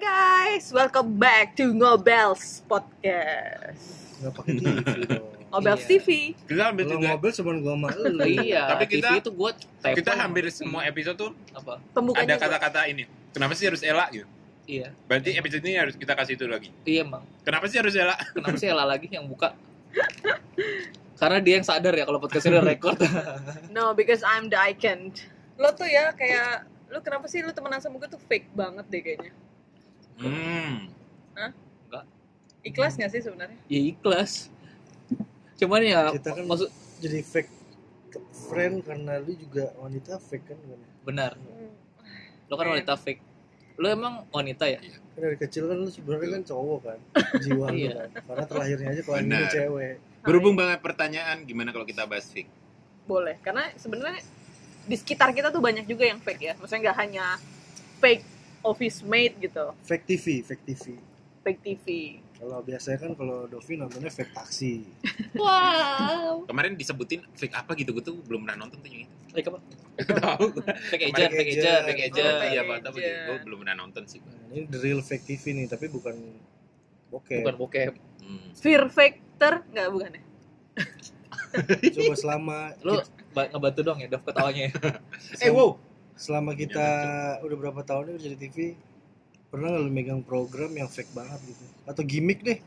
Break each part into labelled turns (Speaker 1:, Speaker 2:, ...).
Speaker 1: guys, welcome back to Ngobels Podcast.
Speaker 2: Gak pakai TV dong.
Speaker 1: Ngobels
Speaker 3: Iya.
Speaker 1: TV.
Speaker 4: Kita hampir
Speaker 2: Lo
Speaker 4: juga-
Speaker 2: ngobrol cuma gua sama lu.
Speaker 3: iya
Speaker 4: Tapi kita-
Speaker 3: TV itu gue
Speaker 4: kita hampir semua episode tuh
Speaker 3: apa
Speaker 1: Pembukanya
Speaker 4: ada kata-kata ini. Kenapa sih harus elak gitu?
Speaker 3: iya
Speaker 4: Berarti episode ini harus kita kasih itu lagi.
Speaker 3: iya emang
Speaker 4: Kenapa sih harus elak?
Speaker 3: kenapa sih Ella lagi yang buka karena dia yang sadar ya kalau podcastnya udah record
Speaker 1: gua. No, because I'm the icon. Lo tuh ya kayak lu kenapa sih lu temenan sama gue tuh fake banget deh kayaknya.
Speaker 4: Hmm.
Speaker 1: Ikhlas gak sih sebenarnya?
Speaker 3: ya ikhlas cuman ya
Speaker 2: Kita kan-
Speaker 3: maksud
Speaker 2: Jadi fake friend karena lu juga wanita fake kan bukan? ya?
Speaker 3: benar
Speaker 1: Hmm,
Speaker 3: lo kan wanita fake lo emang wanita ya
Speaker 2: Kan dari kecil kan lu sebenarnya kan cowok kan, jiwa lu
Speaker 3: Iya.
Speaker 2: kan. Karena terlahirnya aja kalau lu
Speaker 4: Benar.
Speaker 2: cewek.
Speaker 4: Berhubung banget pertanyaan gimana kalau kita bahas fake?
Speaker 1: Boleh, karena sebenarnya di sekitar kita tuh banyak juga yang fake ya. Maksudnya nggak hanya fake office mate gitu,
Speaker 2: Fake TV, fake TV.
Speaker 1: fake TV.
Speaker 2: Kalau biasanya kan kalau Dovi nontonnya fake taksi.
Speaker 1: Wow.
Speaker 4: Kemarin disebutin fake apa gitu gue tuh belum pernah nonton tuh yang itu.
Speaker 3: fake apa
Speaker 4: Tahu gua.
Speaker 3: fake agent fake agent fake
Speaker 4: Fake
Speaker 3: agent
Speaker 4: aja, iya
Speaker 1: fake
Speaker 4: Pak, tapi
Speaker 1: agent.
Speaker 4: gue belum pernah nonton sih. gua.
Speaker 2: Nah, ini the real fake TV nih, tapi bukan Oke,
Speaker 3: bukan bokep
Speaker 4: Hmm.
Speaker 1: Fear factor nggak bukan ya?
Speaker 2: coba selama
Speaker 3: lo ba- ngebantu dong ya Dov ketawanya ya?
Speaker 4: Eh wow,
Speaker 2: selama kita udah berapa tahun nih kerja di TV, pernah nggak lu megang program yang fake banget gitu? Atau gimmick deh,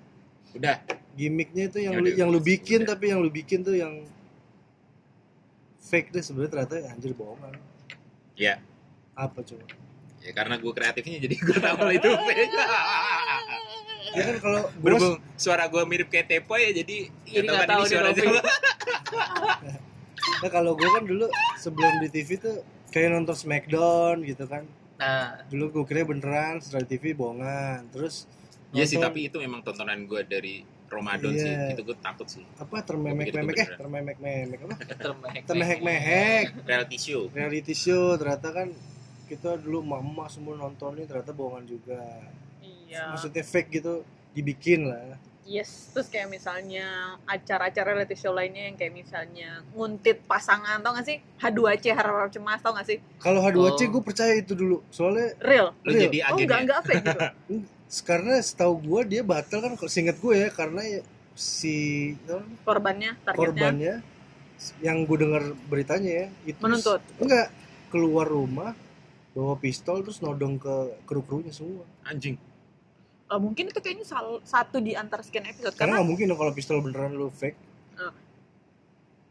Speaker 4: udah.
Speaker 2: gimmicknya itu yang
Speaker 4: Ya
Speaker 2: lu,
Speaker 4: udah,
Speaker 2: yang lu
Speaker 4: udah.
Speaker 2: bikin tapi yang lu bikin tuh yang fake deh sebenarnya ternyata anjir bohongan.
Speaker 4: Ya.
Speaker 2: Apa coba?
Speaker 4: Ya karena gue kreatifnya jadi gue tahu kalau itu fake.
Speaker 2: Ya kan kalau gua
Speaker 4: Berhubung suara gue mirip kayak Tepo ya jadi
Speaker 3: Jadi nggak tahu
Speaker 4: ini
Speaker 3: nih,
Speaker 4: suara
Speaker 3: Novi.
Speaker 4: siapa.
Speaker 2: nah kalau gua kan dulu sebelum di TV tuh kayak nonton Smackdown gitu kan.
Speaker 3: nah
Speaker 2: Dulu gua kira beneran setelah di TV bohongan. Terus
Speaker 4: Iya sih,
Speaker 2: nonton
Speaker 4: tapi itu memang tontonan gue dari Ramadan sih.
Speaker 2: Iya.
Speaker 4: Itu gue takut sih.
Speaker 2: apa termemek-memek eh
Speaker 4: Begitu
Speaker 2: termemek-memek apa?
Speaker 3: termehek
Speaker 2: Termehek-mehek
Speaker 4: Reality show.
Speaker 2: reality show ternyata kan kita dulu mama semua nontonnya ternyata bohongan juga.
Speaker 1: Iya.
Speaker 2: Maksudnya fake gitu dibikin lah.
Speaker 1: Yes, terus kayak misalnya acara-acara reality show lainnya yang kayak misalnya nguntit pasangan, tau gak sih? H2C, harap-harap cemas, tau gak sih?
Speaker 2: Kalau H2C
Speaker 3: Oh.
Speaker 2: gue percaya itu dulu. Soalnya
Speaker 1: Real.
Speaker 4: Lu
Speaker 2: Real.
Speaker 4: jadi
Speaker 1: Oh
Speaker 4: agen
Speaker 1: enggak,
Speaker 4: ya?
Speaker 1: enggak fake gitu.
Speaker 2: karena setahu gue dia batal kan kalau seinget gue ya karena ya si apa namanya,
Speaker 1: Korbannya, targetnya
Speaker 2: korbannya yang gue dengar beritanya ya itu
Speaker 1: menuntut.
Speaker 2: enggak keluar rumah bawa pistol terus nodong ke kru-krunya semua.
Speaker 4: Anjing.
Speaker 1: Eh, mungkin itu kayaknya sal- satu di antara sekian episode.
Speaker 2: Karena
Speaker 1: Karena,
Speaker 2: nggak mungkin dong kalau pistol beneran lu fake.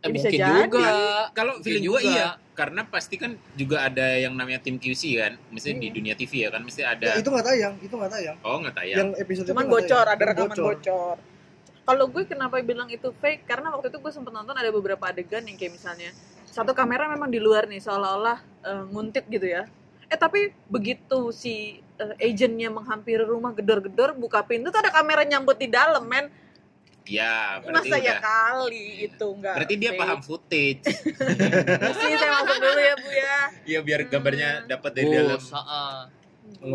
Speaker 3: eh,
Speaker 1: Bisa
Speaker 3: mungkin
Speaker 1: jadi.
Speaker 3: juga
Speaker 4: Kalau
Speaker 3: Mungkin
Speaker 4: feeling gue
Speaker 3: juga.
Speaker 4: iya, karena pasti kan juga ada yang namanya tim QC kan. Mesti di dunia TV ya kan, mesti
Speaker 2: Ya,
Speaker 4: ada.
Speaker 2: itu nggak tayang, itu nggak tayang.
Speaker 4: Oh nggak tayang.
Speaker 2: Yang episode itu
Speaker 1: Ya. cuman
Speaker 2: nggak
Speaker 1: bocor,
Speaker 2: tayang.
Speaker 1: ada rekaman
Speaker 2: Bocor.
Speaker 1: bocor. Kalau gue kenapa bilang itu fake? Karena waktu itu gue sempet nonton ada beberapa adegan yang kayak misalnya satu kamera memang di luar nih, seolah-olah eh, nguntit gitu ya. Eh tapi begitu si eh, agennya menghampiri rumah gedor-gedor, buka pintu tuh ada kamera nyambut di dalam, men.
Speaker 4: Ya, berarti
Speaker 1: Masa ya
Speaker 4: udah. Iya.
Speaker 1: kali itu enggak.
Speaker 4: Berarti dia
Speaker 1: fake.
Speaker 4: paham footage.
Speaker 1: Mesti saya masuk dulu ya, Bu ya.
Speaker 4: Iya biar gambarnya dapat dari
Speaker 3: Oh,
Speaker 4: dalam.
Speaker 3: sa-
Speaker 2: Kalau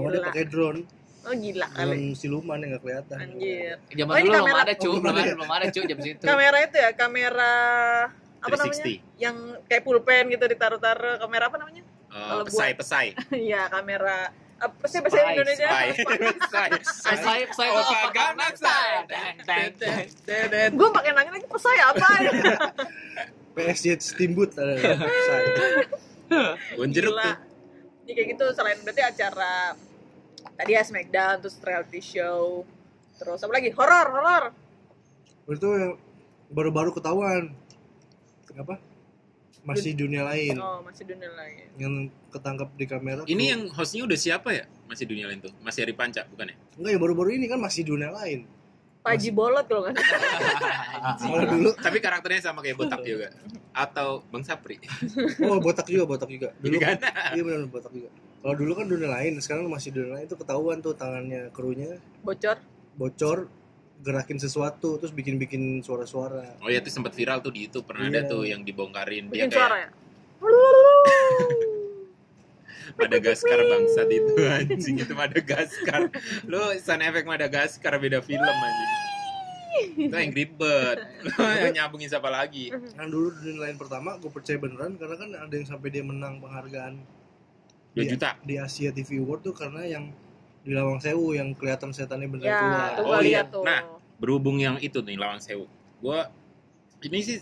Speaker 2: nggak dia
Speaker 1: Gila.
Speaker 2: pakai drone,
Speaker 1: Oh gila kali.
Speaker 2: drone siluman yang nggak kelihatan.
Speaker 1: Anjir.
Speaker 3: Zaman
Speaker 1: Oh, ini
Speaker 3: dulu belum
Speaker 1: kamera-
Speaker 3: ada cu,
Speaker 2: Oh,
Speaker 3: belum
Speaker 2: belum
Speaker 3: ada,
Speaker 2: ada.
Speaker 3: belum ada cu jam situ.
Speaker 1: Kamera itu ya, kamera apa namanya?
Speaker 4: 360.
Speaker 1: Yang kayak pulpen gitu ditaruh-taruh. Kamera apa namanya? Kalau
Speaker 4: Oh,
Speaker 1: buat-
Speaker 4: pesai, pesai.
Speaker 1: Iya, kamera apa sih bahasa
Speaker 3: Spy,
Speaker 1: Indonesia?
Speaker 4: Pesai. Pesai.
Speaker 3: Saya saya
Speaker 4: Oh,
Speaker 3: tuh apa
Speaker 4: kagak,
Speaker 3: karena
Speaker 4: Mas.
Speaker 3: saya. Deng, deng, deng.
Speaker 4: Tetet.
Speaker 1: Gue pakai nangis lagi pesaya apa ya?
Speaker 2: PSG Steamboat ada ada website.
Speaker 4: Gon jeruk
Speaker 1: Gila.
Speaker 4: tuh.
Speaker 1: Ya, kayak gitu selain berarti acara tadi ya Smackdown terus reality show terus apa lagi horor horor
Speaker 2: Waktu itu yang baru-baru ketahuan apa? Masih dunia lain
Speaker 4: Iya.
Speaker 1: oh masih dunia lain
Speaker 2: yang ketangkap di kamera.
Speaker 4: Ini
Speaker 2: tuh-
Speaker 4: yang hostnya udah siapa ya? Masih dunia lain tuh. Masih Ari Panca, bukan ya?
Speaker 2: enggak yang baru-baru ini kan masih dunia lain.
Speaker 1: Paji bolot kalau nggak salah.
Speaker 4: Ah,
Speaker 2: Kalau dulu
Speaker 4: Tapi karakternya sama kayak botak juga. Atau Bang Sapri.
Speaker 2: oh botak juga, botak juga. Dulu
Speaker 4: Ini kan.
Speaker 2: iya benar botak juga. Kalau dulu kan dunia lain, sekarang masih dunia lain itu ketahuan tuh tangannya krunya
Speaker 1: bocor
Speaker 4: Iya,
Speaker 2: bocor gerakin sesuatu terus bikin-bikin suara-suara.
Speaker 4: Oh ya itu sempat viral tuh di YouTube pernah
Speaker 2: Iya.
Speaker 4: ada tuh yang dibongkarin dia
Speaker 1: bikin
Speaker 4: kayak
Speaker 1: suara ya
Speaker 4: Madagaskar bangsat itu anjing itu Madagaskar. Lu sound effect Madagaskar beda film anjing. Itu Angry Bird. Lu yang nyambungin siapa lagi?
Speaker 2: Yang dulu dunia lain pertama gue percaya beneran karena kan ada yang sampai dia menang penghargaan
Speaker 4: 2 juta.
Speaker 2: di Asia TV Award tuh karena yang di Lawang Sewu yang kelihatan setannya bener
Speaker 1: ya
Speaker 2: keluar.
Speaker 1: tuh
Speaker 4: Oh,
Speaker 1: gua
Speaker 4: iya.
Speaker 1: lihat tuh
Speaker 4: Nah. berhubung yang itu nih lawan Sewu gue ini sih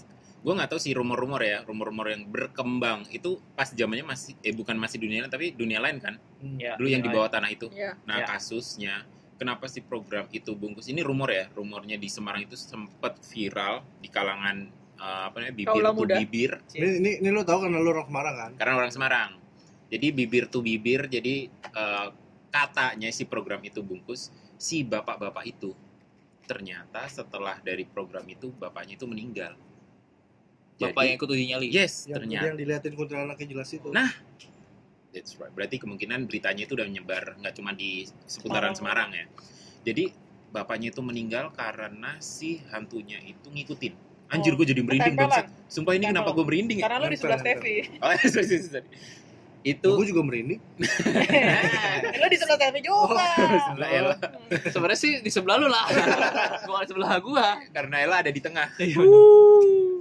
Speaker 4: gue nggak tahu sih rumor-rumor ya rumor-rumor yang berkembang itu pas zamannya masih eh bukan masih dunia lain tapi dunia lain kan
Speaker 2: Hmm.
Speaker 3: Ya,
Speaker 4: dulu yang di
Speaker 3: nilai.
Speaker 4: bawah tanah itu
Speaker 1: Iya.
Speaker 4: nah
Speaker 3: Ya.
Speaker 4: kasusnya kenapa sih program itu bungkus ini rumor ya rumornya di Semarang itu sempat viral di kalangan eh, apa namanya bibir
Speaker 1: Kaula
Speaker 4: to
Speaker 1: muda.
Speaker 4: bibir
Speaker 2: Ini, ini, ini lo tau karena lo orang Semarang kan?
Speaker 4: karena orang Semarang jadi bibir to bibir jadi eh, katanya si program itu bungkus si bapak-bapak itu ternyata setelah dari program itu bapaknya itu meninggal
Speaker 3: Bapak yang ikut uji nyali.
Speaker 4: yes
Speaker 2: Yang,
Speaker 4: ternyata
Speaker 2: yang diliatin kuntilanaknya jelas itu.
Speaker 4: Nah. That's right. Berarti kemungkinan beritanya itu udah menyebar nggak cuma di seputaran Semarang
Speaker 1: Semarang.
Speaker 4: ya. Jadi bapaknya itu meninggal karena si hantunya itu ngikutin. Anjir
Speaker 1: Oh,
Speaker 4: gue jadi merinding bang.
Speaker 1: ketempelan.
Speaker 4: Sumpah ini kenapa
Speaker 1: Ketempelan.
Speaker 4: gue merinding ya?
Speaker 1: karena lu di sebelah
Speaker 2: Nempel,
Speaker 1: Steffi
Speaker 4: Oh, sorry, sorry, sorry. Itu
Speaker 2: Gue juga merinding.
Speaker 1: Eh, lu di sebelah Steffi juga
Speaker 4: sebelah Ella.
Speaker 3: Sebenarnya sih di sebelah lu lah. Bukan di sebelah gua.
Speaker 4: Karena Ella ada di tengah.
Speaker 1: Hmm.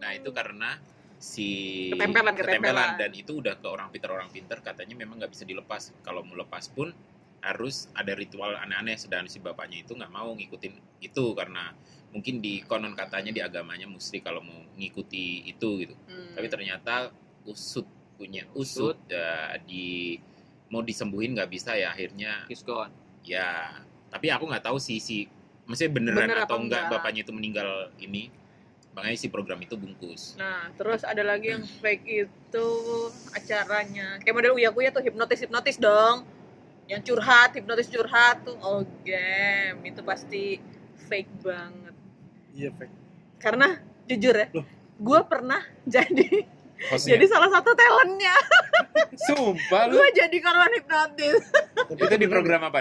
Speaker 4: Nah itu karena si
Speaker 1: Ketempelan, ketempelan.
Speaker 4: dan itu udah ke orang pinter orang pinter katanya memang nggak bisa dilepas kalau mau lepas pun harus ada ritual aneh-aneh sedangkan si bapaknya itu nggak mau ngikutin itu karena mungkin di konon katanya di agamanya mesti kalau mau ngikuti itu gitu
Speaker 1: Hmm.
Speaker 4: tapi ternyata usut punya usut ya, di mau disembuhin nggak bisa ya akhirnya
Speaker 3: He's gone.
Speaker 4: ya tapi aku nggak tahu sih si maksudnya beneran
Speaker 1: Bener
Speaker 4: atau
Speaker 1: apa
Speaker 4: enggak,
Speaker 1: enggak.
Speaker 4: bapaknya itu meninggal ini makanya si program itu bungkus
Speaker 1: Nah, terus ada lagi yang fake itu acaranya. Kayak model Uya Kuya tuh hipnotis-hipnotis dong. Yang curhat, hipnotis curhat tuh. Oh, game. Itu pasti fake banget.
Speaker 2: Iya, fake.
Speaker 1: Karena jujur ya,
Speaker 2: Loh. Iya.
Speaker 1: gue pernah jadi
Speaker 4: Hostnya.
Speaker 1: jadi salah satu talentnya.
Speaker 4: Sumpah lu
Speaker 1: Gue jadi korban hipnotis.
Speaker 2: Tapi kan
Speaker 4: Itu di
Speaker 2: beneran-
Speaker 4: program apa?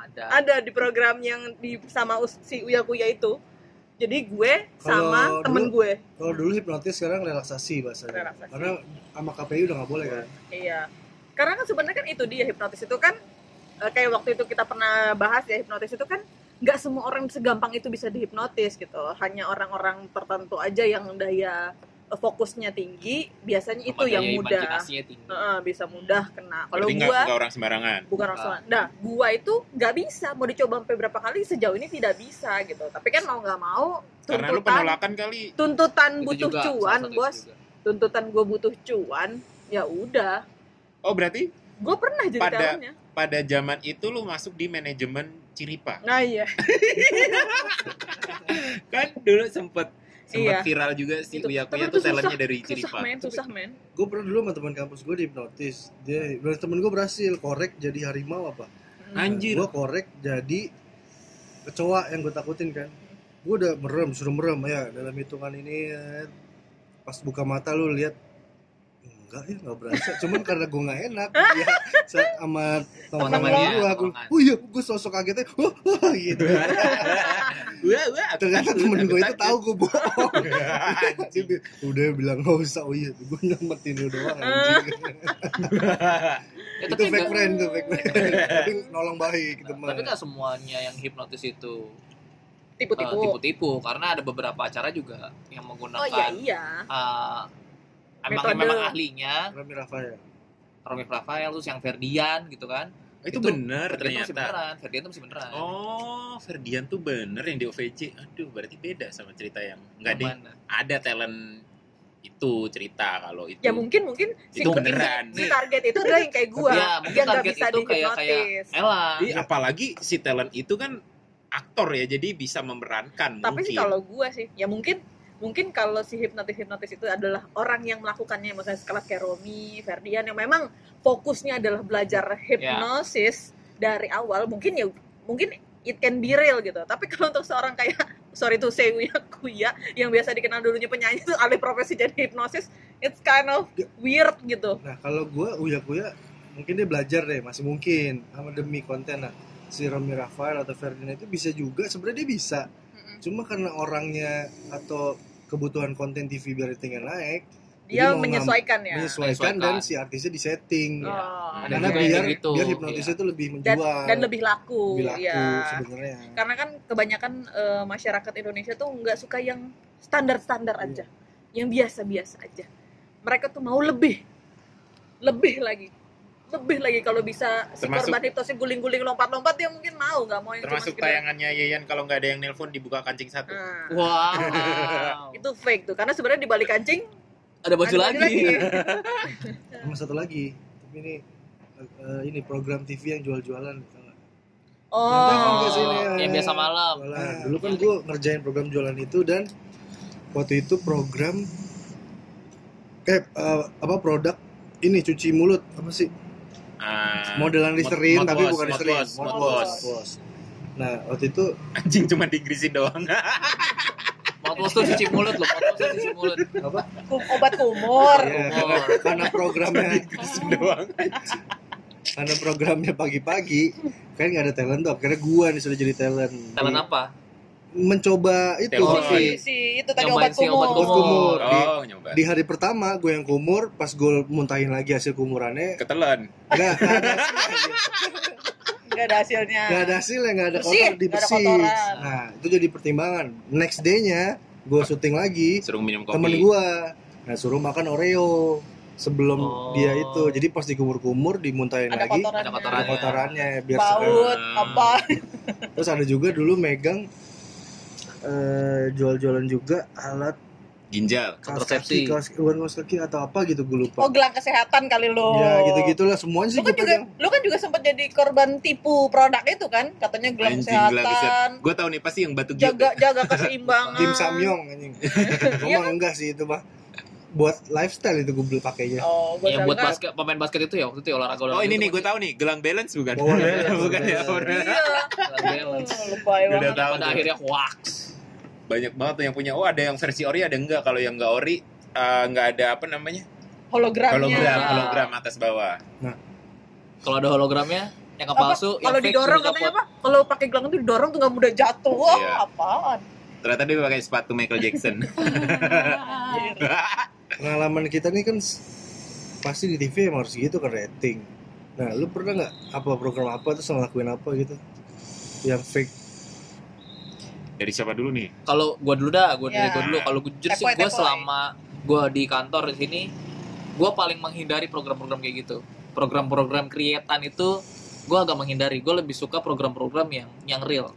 Speaker 3: Ada.
Speaker 1: Ada di program yang di sama us- si Uya Kuya itu. Jadi gue sama
Speaker 2: Kalau
Speaker 1: temen gue.
Speaker 2: Kalau dulu hipnotis sekarang relaksasi bahasanya.
Speaker 1: Relaksasi.
Speaker 2: Karena sama KPI udah nggak boleh kan?
Speaker 1: Iya. Karena kan sebenarnya kan itu dia hipnotis itu kan eh, kayak waktu itu kita pernah bahas ya hipnotis itu kan nggak semua orang segampang itu bisa dihipnotis gitu. Hanya orang-orang tertentu aja yang daya eh, fokusnya tinggi, biasanya itu
Speaker 3: Kematiannya
Speaker 1: yang mudah.
Speaker 3: Imajinasinya tinggi.
Speaker 1: Heeh, bisa mudah kena. Kalau
Speaker 4: Berarti nggak-
Speaker 1: gua
Speaker 4: nggak orang sembarangan.
Speaker 1: bukan
Speaker 3: Ah.
Speaker 1: langsung. Nah, gua itu nggak bisa mau dicoba sampai berapa kali sejauh ini tidak bisa gitu. Tapi kan mau nggak mau
Speaker 4: Karena lu
Speaker 1: tuntutan
Speaker 4: penolakan kali.
Speaker 1: tuntutan
Speaker 3: Itu
Speaker 1: butuh
Speaker 3: juga, salah
Speaker 1: cuan,
Speaker 3: satu itu
Speaker 1: Bos.
Speaker 3: juga.
Speaker 1: Tuntutan gue butuh cuan, ya udah
Speaker 4: Oh berarti
Speaker 1: gue pernah jadi
Speaker 4: Pada-
Speaker 1: talentnya
Speaker 4: pada zaman itu lu masuk di manajemen Ciripa.
Speaker 1: nah iya
Speaker 4: Kan dulu sempet
Speaker 1: Iya.
Speaker 4: sempet viral juga si
Speaker 1: Gitu.
Speaker 4: Uya
Speaker 1: Tapi itu
Speaker 4: Kuya tuh
Speaker 1: susah,
Speaker 4: talentnya dari
Speaker 1: susah
Speaker 4: Ciripa.
Speaker 1: men susah men
Speaker 2: Gue pernah dulu sama teman kampus gue dihipnotis. Dia hipnotis temen gue berhasil korek jadi harimau apa?
Speaker 3: Hmm.
Speaker 4: Anjir.
Speaker 2: Gue korek jadi kecoa yang gue takutin kan. Gue udah merem, suruh merem ya dalam hitungan ini. eh, Pas buka mata lu lihat enggak ya nggak berasa cuman karena gue nggak enak ya sa- sama teman
Speaker 3: Teman-temannya,
Speaker 2: gue aku
Speaker 3: teman.
Speaker 2: oh iya gue sosok kagetnya wah wah," gitu
Speaker 4: Wah, wah, aku
Speaker 2: ternyata
Speaker 4: takut,
Speaker 2: temen
Speaker 4: aku
Speaker 2: gue itu
Speaker 4: takut.
Speaker 2: tahu gue bohong
Speaker 4: Anjing.
Speaker 2: Anjing. udah bilang nggak usah oh iya gue nyelamatin lu doang anjing
Speaker 3: Ya,
Speaker 2: itu gitu.
Speaker 3: tapi
Speaker 2: fake
Speaker 3: nggak-
Speaker 2: friend tuh fake friend tapi nolong baik teman
Speaker 3: Tapi nggak semuanya yang hipnotis itu
Speaker 1: tipu
Speaker 3: eh,
Speaker 1: tipu
Speaker 3: tipu-tipu karena ada beberapa acara juga yang
Speaker 1: oh iya
Speaker 3: menggunakan
Speaker 1: iya
Speaker 3: eh, emang
Speaker 1: Metode.
Speaker 3: memang ahlinya
Speaker 2: Rami Rafael
Speaker 3: Romi Rafael terus yang Ferdian gitu kan.
Speaker 4: Itu
Speaker 3: Itu
Speaker 4: bener
Speaker 3: Ferdian tuh masih
Speaker 4: ternyata.
Speaker 3: beneran, Ferdian tuh masih beneran.
Speaker 4: Oh, Ferdian tuh bener yang di OVJ. Aduh, berarti beda sama cerita yang enggak deh.
Speaker 3: Mana?
Speaker 4: Ada talent itu cerita kalau itu.
Speaker 3: Hmm.
Speaker 1: ya mungkin mungkin si,
Speaker 4: Itu
Speaker 1: si,
Speaker 4: beneran.
Speaker 1: si target itu adalah yang kayak gue
Speaker 3: Ya, mungkin
Speaker 1: yang nggak
Speaker 3: target
Speaker 1: bisa
Speaker 3: itu kayak kayak
Speaker 1: dihipnotis
Speaker 3: Ella.
Speaker 1: Iya.
Speaker 4: Jadi apalagi si talent itu kan aktor ya, jadi bisa memerankan
Speaker 1: tapi sih
Speaker 4: mungkin.
Speaker 1: kalau gue sih ya mungkin mungkin kalau si hipnotis hipnotis itu adalah orang yang melakukannya misalnya sekelas kayak Romi Ferdian yang memang fokusnya adalah belajar hipnosis dari awal mungkin ya mungkin it can be real gitu tapi kalau untuk seorang kayak sorry tuh saya Uya Kuya yang biasa dikenal dulunya penyanyi itu alih profesi jadi hipnosis it's kind of weird gitu
Speaker 2: nah kalau gue uya kuya mungkin dia belajar deh masih mungkin sama demi konten nah si Rami Rafael atau Ferdinand itu bisa juga sebenarnya dia bisa cuma karena orangnya atau kebutuhan konten TV biar ratingnya naik
Speaker 1: dia
Speaker 2: Jadi mau
Speaker 1: menyesuaikan ya
Speaker 2: menyesuaikan dan
Speaker 3: Menyesuaikan.
Speaker 2: si artisnya disetting
Speaker 3: Iya.
Speaker 1: Oh.
Speaker 2: karena
Speaker 3: Ada juga
Speaker 2: biar
Speaker 3: yang gitu,
Speaker 2: biar hipnotis
Speaker 3: iya.
Speaker 2: itu lebih
Speaker 1: dan,
Speaker 2: menjual
Speaker 1: dan lebih laku,
Speaker 2: lebih laku
Speaker 1: ya.
Speaker 2: sebenarnya
Speaker 1: karena kan kebanyakan eh, masyarakat Indonesia tuh nggak suka yang standar-standar
Speaker 2: Iya.
Speaker 1: aja, yang biasa-biasa aja. Mereka tuh mau lebih, lebih lagi. lebih lagi kalau bisa si
Speaker 4: Termasuk-
Speaker 1: korban hipnosis guling-guling lompat-lompat dia mungkin mau nggak mau yang cuma
Speaker 4: Termasuk
Speaker 1: sekedar-
Speaker 4: tayangannya Yayan kalau nggak ada yang nelpon dibuka kancing satu.
Speaker 1: Nah,
Speaker 3: Wow.
Speaker 1: itu fake tuh karena sebenarnya di balik kancing
Speaker 3: ada baju
Speaker 1: ada
Speaker 3: lagi.
Speaker 2: sama satu lagi tapi ini eh, ini program TV yang jual-jualan tau nggak? Datang ke sini,
Speaker 1: oh
Speaker 2: ya.
Speaker 3: yang biasa malam. Nah,
Speaker 2: Jualan. dulu kan
Speaker 3: Iya.
Speaker 2: gue ngerjain program jualan itu dan waktu itu program eh eh, apa produk ini cuci mulut apa sih
Speaker 3: Nah,
Speaker 4: Ah,
Speaker 2: modelan
Speaker 4: mouth-
Speaker 2: Listerine tapi
Speaker 4: mouthwash,
Speaker 2: bukan Listerine
Speaker 4: mouthwash,
Speaker 1: mouthwash.
Speaker 2: Mouthwash. nah waktu itu
Speaker 4: Anjing cuma diinggrisin doang.
Speaker 1: Iya.
Speaker 3: Mouthwash tuh cuci mulut loh, mouthwash tuh cuci mulut.
Speaker 2: apa
Speaker 1: kum- obat kumur
Speaker 2: Iya, karena,
Speaker 3: Humor.
Speaker 2: karena programnya
Speaker 4: diinggrisin doang.
Speaker 2: karena programnya pagi-pagi kan nggak ada talent tuh akhirnya gua nih sudah jadi talent
Speaker 3: Talent apa?
Speaker 2: mencoba itu
Speaker 4: Talent.
Speaker 2: sih.
Speaker 1: si, si itu tadi obat
Speaker 3: Nyobain si obat
Speaker 2: Obat
Speaker 1: kumur
Speaker 2: kumur. Di-
Speaker 4: Oh, nyoba.
Speaker 2: di hari pertama gue yang kumur pas gue muntahin lagi hasil kumurannya
Speaker 4: Ketelan.
Speaker 2: nggak kan? nggak ada hasilnya.
Speaker 1: nggak ada hasilnya
Speaker 2: nggak ada hasilnya
Speaker 1: Nah. Bersih,
Speaker 2: nggak ada kotor di
Speaker 1: nggak ada
Speaker 2: bersih
Speaker 1: kotoran.
Speaker 2: nah itu jadi pertimbangan next day-nya gue syuting lagi
Speaker 4: Suruh minum kopi.
Speaker 2: temen gue nah suruh makan oreo sebelum
Speaker 3: Oh.
Speaker 2: dia itu jadi pas dikumur-kumur dimuntahin
Speaker 1: ada
Speaker 2: lagi
Speaker 1: kotorannya
Speaker 3: ada
Speaker 2: ada
Speaker 3: kotoran.
Speaker 2: kotorannya biar segar.
Speaker 1: baut apa
Speaker 2: terus ada juga dulu megang eh, jual-jualan juga alat
Speaker 4: Ginjal.
Speaker 2: kaos kaki,
Speaker 3: Kontrasepsi.
Speaker 2: kaos, bukan kaos kaki atau apa gitu gue lupa
Speaker 1: oh gelang kesehatan kali lo
Speaker 4: Iya,
Speaker 2: ya gitu gitulah semuanya sih
Speaker 1: lu kan juga
Speaker 2: gue pegang
Speaker 1: lu kan juga sempat jadi korban tipu produk itu kan katanya gelang
Speaker 4: Anjing gelang
Speaker 1: kesehatan
Speaker 4: Gue tahu nih pasti yang batu giok.
Speaker 1: jaga jaga keseimbangan
Speaker 2: tim samyong anjing gue
Speaker 1: Ah. Iya
Speaker 2: mah enggak sih itu mah buat lifestyle itu gue beli pakainya
Speaker 1: oh gue
Speaker 3: Yang Iya, buat basket pemain basket itu ya waktu itu ya, olahraga olahraga.
Speaker 4: Oh ini
Speaker 3: itu
Speaker 4: nih gue
Speaker 3: masih-
Speaker 4: tahu nih gelang balance bukan?
Speaker 2: Bawa balance,
Speaker 4: bukan ya.
Speaker 2: bawa balance.
Speaker 1: iya
Speaker 3: olahraga yang-
Speaker 1: lupa ya
Speaker 4: Udah tahu.
Speaker 3: Pada akhirnya hoax.
Speaker 4: Banyak banget tuh yang punya. Oh ada yang versi ori ada yang enggak. Kalau yang enggak ori eh, enggak ada apa namanya?
Speaker 1: hologramnya
Speaker 4: Hologram,
Speaker 3: Nah.
Speaker 4: hologram atas bawah.
Speaker 3: Kalau ada hologramnya yang
Speaker 1: Apa?
Speaker 3: palsu, yang
Speaker 1: kalau
Speaker 3: fake,
Speaker 1: didorong
Speaker 3: suruh
Speaker 1: katanya
Speaker 3: copot.
Speaker 1: apa kalau pakai gelang itu didorong tuh nggak mudah jatuh wah
Speaker 4: Iya.
Speaker 1: apaan
Speaker 4: Ternyata dia pakai sepatu Michael Jackson.
Speaker 2: pengalaman kita nih kan s- pasti di TV emang harus gitu kan rating nah lu pernah nggak apa program apa terus ngelakuin apa gitu yang fake
Speaker 4: Dari siapa dulu nih?
Speaker 3: kalau gua dulu dah gua dari
Speaker 1: Ya.
Speaker 3: gua dulu kalau gua jujur sih
Speaker 1: Tepoy,
Speaker 3: gua
Speaker 1: tepoy.
Speaker 3: selama gua di kantor di sini gua paling menghindari program-program kayak gitu program-program kreatan itu gua agak menghindari gua lebih suka program-program yang yang real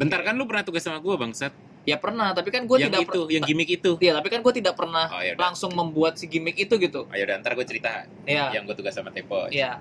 Speaker 4: Bentar kan lu pernah tugas sama gue bangsat.
Speaker 3: ya pernah tapi kan gua
Speaker 4: yang
Speaker 3: tidak
Speaker 4: itu,
Speaker 3: per-
Speaker 4: yang gitu. gimmick itu.
Speaker 3: ya tapi kan gua tidak pernah
Speaker 4: Oh ya udah.
Speaker 3: langsung membuat si gimmick itu gitu
Speaker 4: Ayo udah ntar gue cerita
Speaker 3: ya
Speaker 4: yang gue tugas sama Tempo.
Speaker 3: ya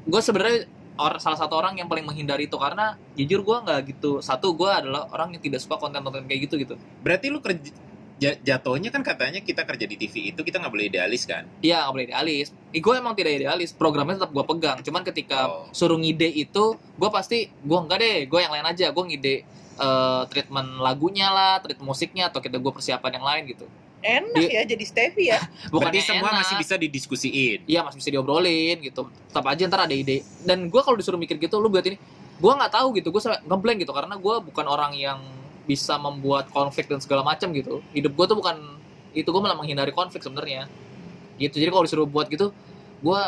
Speaker 3: gue sebenarnya or- salah satu orang yang paling menghindari itu karena jujur gua nggak gitu satu gua adalah orang yang tidak suka konten-konten kayak gitu gitu
Speaker 4: Berarti lu kerja ja- jatuhnya kan katanya kita kerja di TV itu kita nggak boleh idealis kan?
Speaker 3: Iya nggak boleh idealis. gue emang tidak idealis. Programnya tetap gue pegang. Cuman ketika
Speaker 4: Oh.
Speaker 3: suruh ngide itu, gue pasti gue enggak deh. Gue yang lain aja. Gue ngide eh, treatment lagunya lah, treatment musiknya atau kita gue persiapan yang lain gitu.
Speaker 1: enak ya jadi Stevie ya
Speaker 3: Bukannya
Speaker 4: Berarti semua
Speaker 3: enak.
Speaker 4: masih bisa didiskusiin.
Speaker 3: Iya masih bisa diobrolin gitu. Tetap aja ntar ada ide. Dan gue kalau disuruh mikir gitu, lu buat ini, gue nggak tahu gitu. Gue ngeblank gitu karena gue bukan orang yang bisa membuat konflik dan segala macam gitu. Hidup gue tuh bukan itu gue malah menghindari konflik sebenarnya. Gitu. Jadi kalau disuruh buat gitu, gue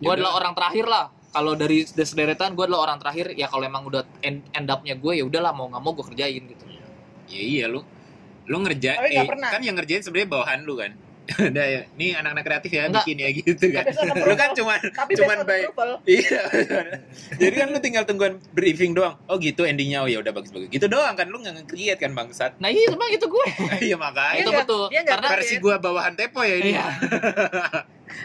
Speaker 3: gue
Speaker 4: Ya
Speaker 3: adalah orang terakhir lah. Kalau dari des- sederetan gue adalah orang terakhir. Ya kalau emang udah end, end up-nya gue ya udahlah mau nggak mau gue kerjain gitu.
Speaker 4: Ya iya lu. Lu ngerja
Speaker 1: Tapi nggak
Speaker 4: eh,
Speaker 1: pernah.
Speaker 4: kan yang ngerjain sebenarnya bawahan lu kan. Udah ya, nih anak-anak kreatif ya
Speaker 3: Nggak.
Speaker 4: bikin ya gitu kan.
Speaker 1: Tapi soal
Speaker 4: lu kan cuman
Speaker 1: tapi Cuman
Speaker 4: Cuman
Speaker 1: based on
Speaker 4: baik.
Speaker 1: approval
Speaker 4: iya. Jadi kan lu tinggal tungguan briefing doang. Oh gitu endingnya oh ya udah bagus bagus. Gitu doang kan lu nggak nge-create kan bangsat.
Speaker 3: Nah iya sebenarnya gitu gue.
Speaker 4: Iya makanya
Speaker 3: itu
Speaker 1: nggak-
Speaker 3: betul.
Speaker 1: dia nggak
Speaker 3: Karena
Speaker 4: versi gua bawahan Tepo ya ini.
Speaker 3: Iya.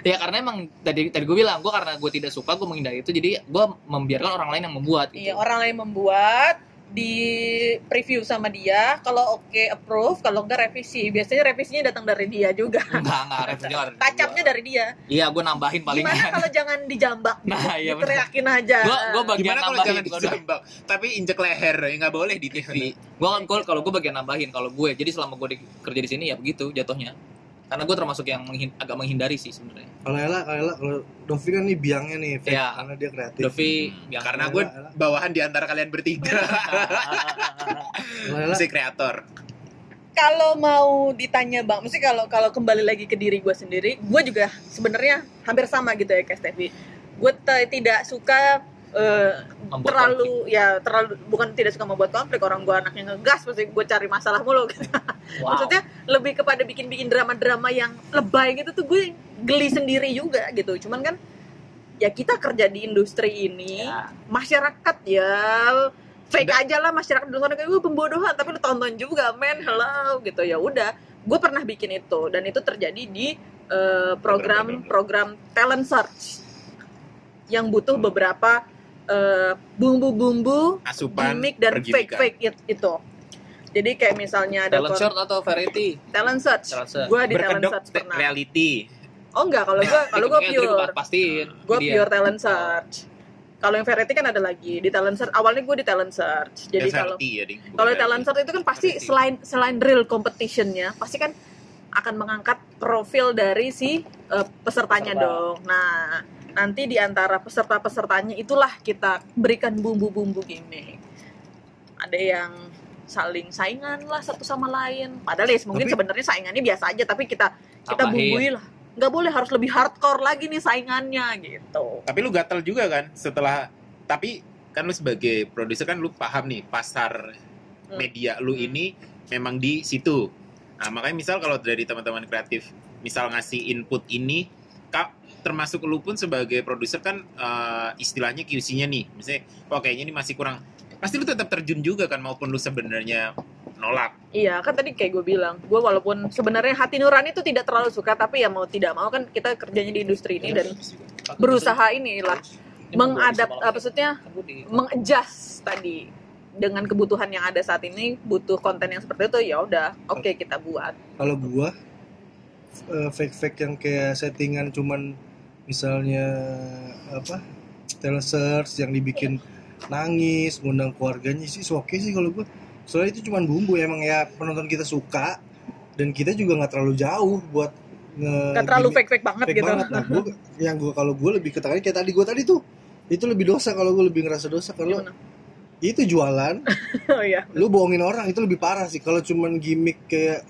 Speaker 3: ya karena emang tadi tadi gue bilang gue karena gue tidak suka gue menghindari itu jadi gue membiarkan orang lain yang membuat gitu.
Speaker 1: Iya, orang lain membuat di preview sama dia, kalau oke approve, kalau enggak revisi. Biasanya revisinya datang dari dia juga.
Speaker 3: Enggak, enggak, revenue ada di
Speaker 1: Tacapnya
Speaker 3: gua.
Speaker 1: dari dia.
Speaker 3: Iya, gue nambahin
Speaker 1: Gimana
Speaker 3: palingan.
Speaker 1: kalau jangan dijambak?
Speaker 3: Nah, iya benar.
Speaker 1: Diteriakin aja.
Speaker 3: Gue gue bagian
Speaker 4: Gimana kalau
Speaker 3: nambahin.
Speaker 4: jangan dijambak tapi injek leher ya nggak boleh di TV.
Speaker 3: Gue kan gua- kalau gue bagian nambahin kalau gue. Jadi selama gue di- kerja di sini ya begitu jatuhnya. Karena gue termasuk yang menghin- agak menghindari sih sebenarnya.
Speaker 2: kalau Ella kalau Ella kalau Dovi kan nih biangnya nih fake
Speaker 3: Iya.
Speaker 2: karena dia kreatif
Speaker 3: Dovi yang
Speaker 4: Hmm, Karena gue
Speaker 2: Elah, elah.
Speaker 4: bawahan di antara kalian bertiga.
Speaker 2: kalau Ella
Speaker 4: Si kreator.
Speaker 1: Kalau mau ditanya Bang, mesti kalau kalau kembali lagi ke diri gue sendiri, gue juga sebenarnya hampir sama gitu ya kayak Stevie. Gue te- tidak suka eh,
Speaker 3: membuat
Speaker 1: terlalu ya terlalu bukan tidak suka membuat konflik orang gue anaknya ngegas pasti gue cari masalah mulu
Speaker 3: konflik. Wow. ya.
Speaker 1: Maksudnya lebih kepada bikin-bikin drama-drama yang lebay gitu tuh gue geli sendiri juga gitu. Cuman kan ya kita kerja di industri ini
Speaker 3: Ya.
Speaker 1: masyarakat ya fake aja lah masyarakat di luar negeri "Wah, pembodohan tapi lu tonton juga men hello gitu ya udah gue pernah bikin itu dan itu terjadi di eh, program program talent search yang butuh beberapa eh, bumbu-bumbu
Speaker 4: asupan
Speaker 1: gimmick dan fake
Speaker 4: pergimikan.
Speaker 1: fake itu jadi kayak misalnya ada
Speaker 3: Talent
Speaker 1: kon-
Speaker 3: short atau variety?
Speaker 1: talent search
Speaker 3: Talent search. eh,
Speaker 1: gue di talent
Speaker 4: berkedok
Speaker 1: search
Speaker 4: te-
Speaker 1: pernah
Speaker 4: reality
Speaker 1: oh enggak kalau gue kalau gue
Speaker 3: Tiga-tiganya
Speaker 1: pure
Speaker 3: tadi pastiin.
Speaker 1: gue
Speaker 3: Jadi ya,
Speaker 1: pure talent search kalau yang variety kan ada lagi di talent search awalnya gue di talent search jadi kalau
Speaker 4: SRT ya ding
Speaker 1: kalau di talent search itu kan pasti
Speaker 3: Variety.
Speaker 1: selain selain real competitionnya pasti kan akan mengangkat profil dari si eh, pesertanya
Speaker 3: Peserta.
Speaker 1: dong nah nanti di antara peserta-pesertanya itulah kita berikan bumbu-bumbu gimmick ada yang saling saingan lah satu sama lain padahal ya mungkin
Speaker 2: Tapi-
Speaker 1: sebenarnya saingannya biasa aja tapi kita kita
Speaker 3: Tambahin.
Speaker 1: bumbui lah nggak boleh harus lebih hardcore lagi nih saingannya gitu
Speaker 4: tapi lu gatel juga kan setelah tapi kan lu sebagai produser kan lu paham nih pasar
Speaker 1: Hmm.
Speaker 4: media lu
Speaker 1: Hmm.
Speaker 4: ini memang di situ nah makanya misal kalau dari teman-teman kreatif misal ngasih input ini kak termasuk lu pun sebagai produser kan eh, istilahnya QC-nya nih misalnya oh kayaknya ini masih kurang pasti lu tetap terjun juga kan maupun lu sebenarnya nolak
Speaker 1: Iya, kan tadi kayak gue bilang, gue walaupun sebenarnya hati nurani itu tidak terlalu suka, tapi ya mau tidak mau kan kita kerjanya di industri ini dan berusaha inilah
Speaker 3: Ini mau gua
Speaker 1: mengadap,
Speaker 3: bisa
Speaker 1: apa maksudnya
Speaker 3: malam. Kan gua di-
Speaker 1: mengejas tadi dengan kebutuhan yang ada saat ini butuh konten yang seperti itu ya udah oke kita buat
Speaker 2: kalau gua eh, fake-fake yang kayak settingan cuman misalnya apa telesers yang dibikin nangis ngundang keluarganya sih oke sih kalau gua soalnya itu cuman bumbu emang ya penonton kita suka dan kita juga nggak terlalu jauh buat nge
Speaker 1: nggak terlalu
Speaker 2: gimmick-
Speaker 1: fake fake banget
Speaker 2: fake
Speaker 1: gitu
Speaker 2: banget Nah, gua, yang gua kalau gua lebih ketahui kayak tadi gua tadi tuh itu lebih dosa kalau gua lebih ngerasa dosa kalau
Speaker 1: Gimana?
Speaker 2: itu jualan
Speaker 1: oh iya
Speaker 2: lu bohongin orang itu lebih parah sih kalau cuman gimmick kayak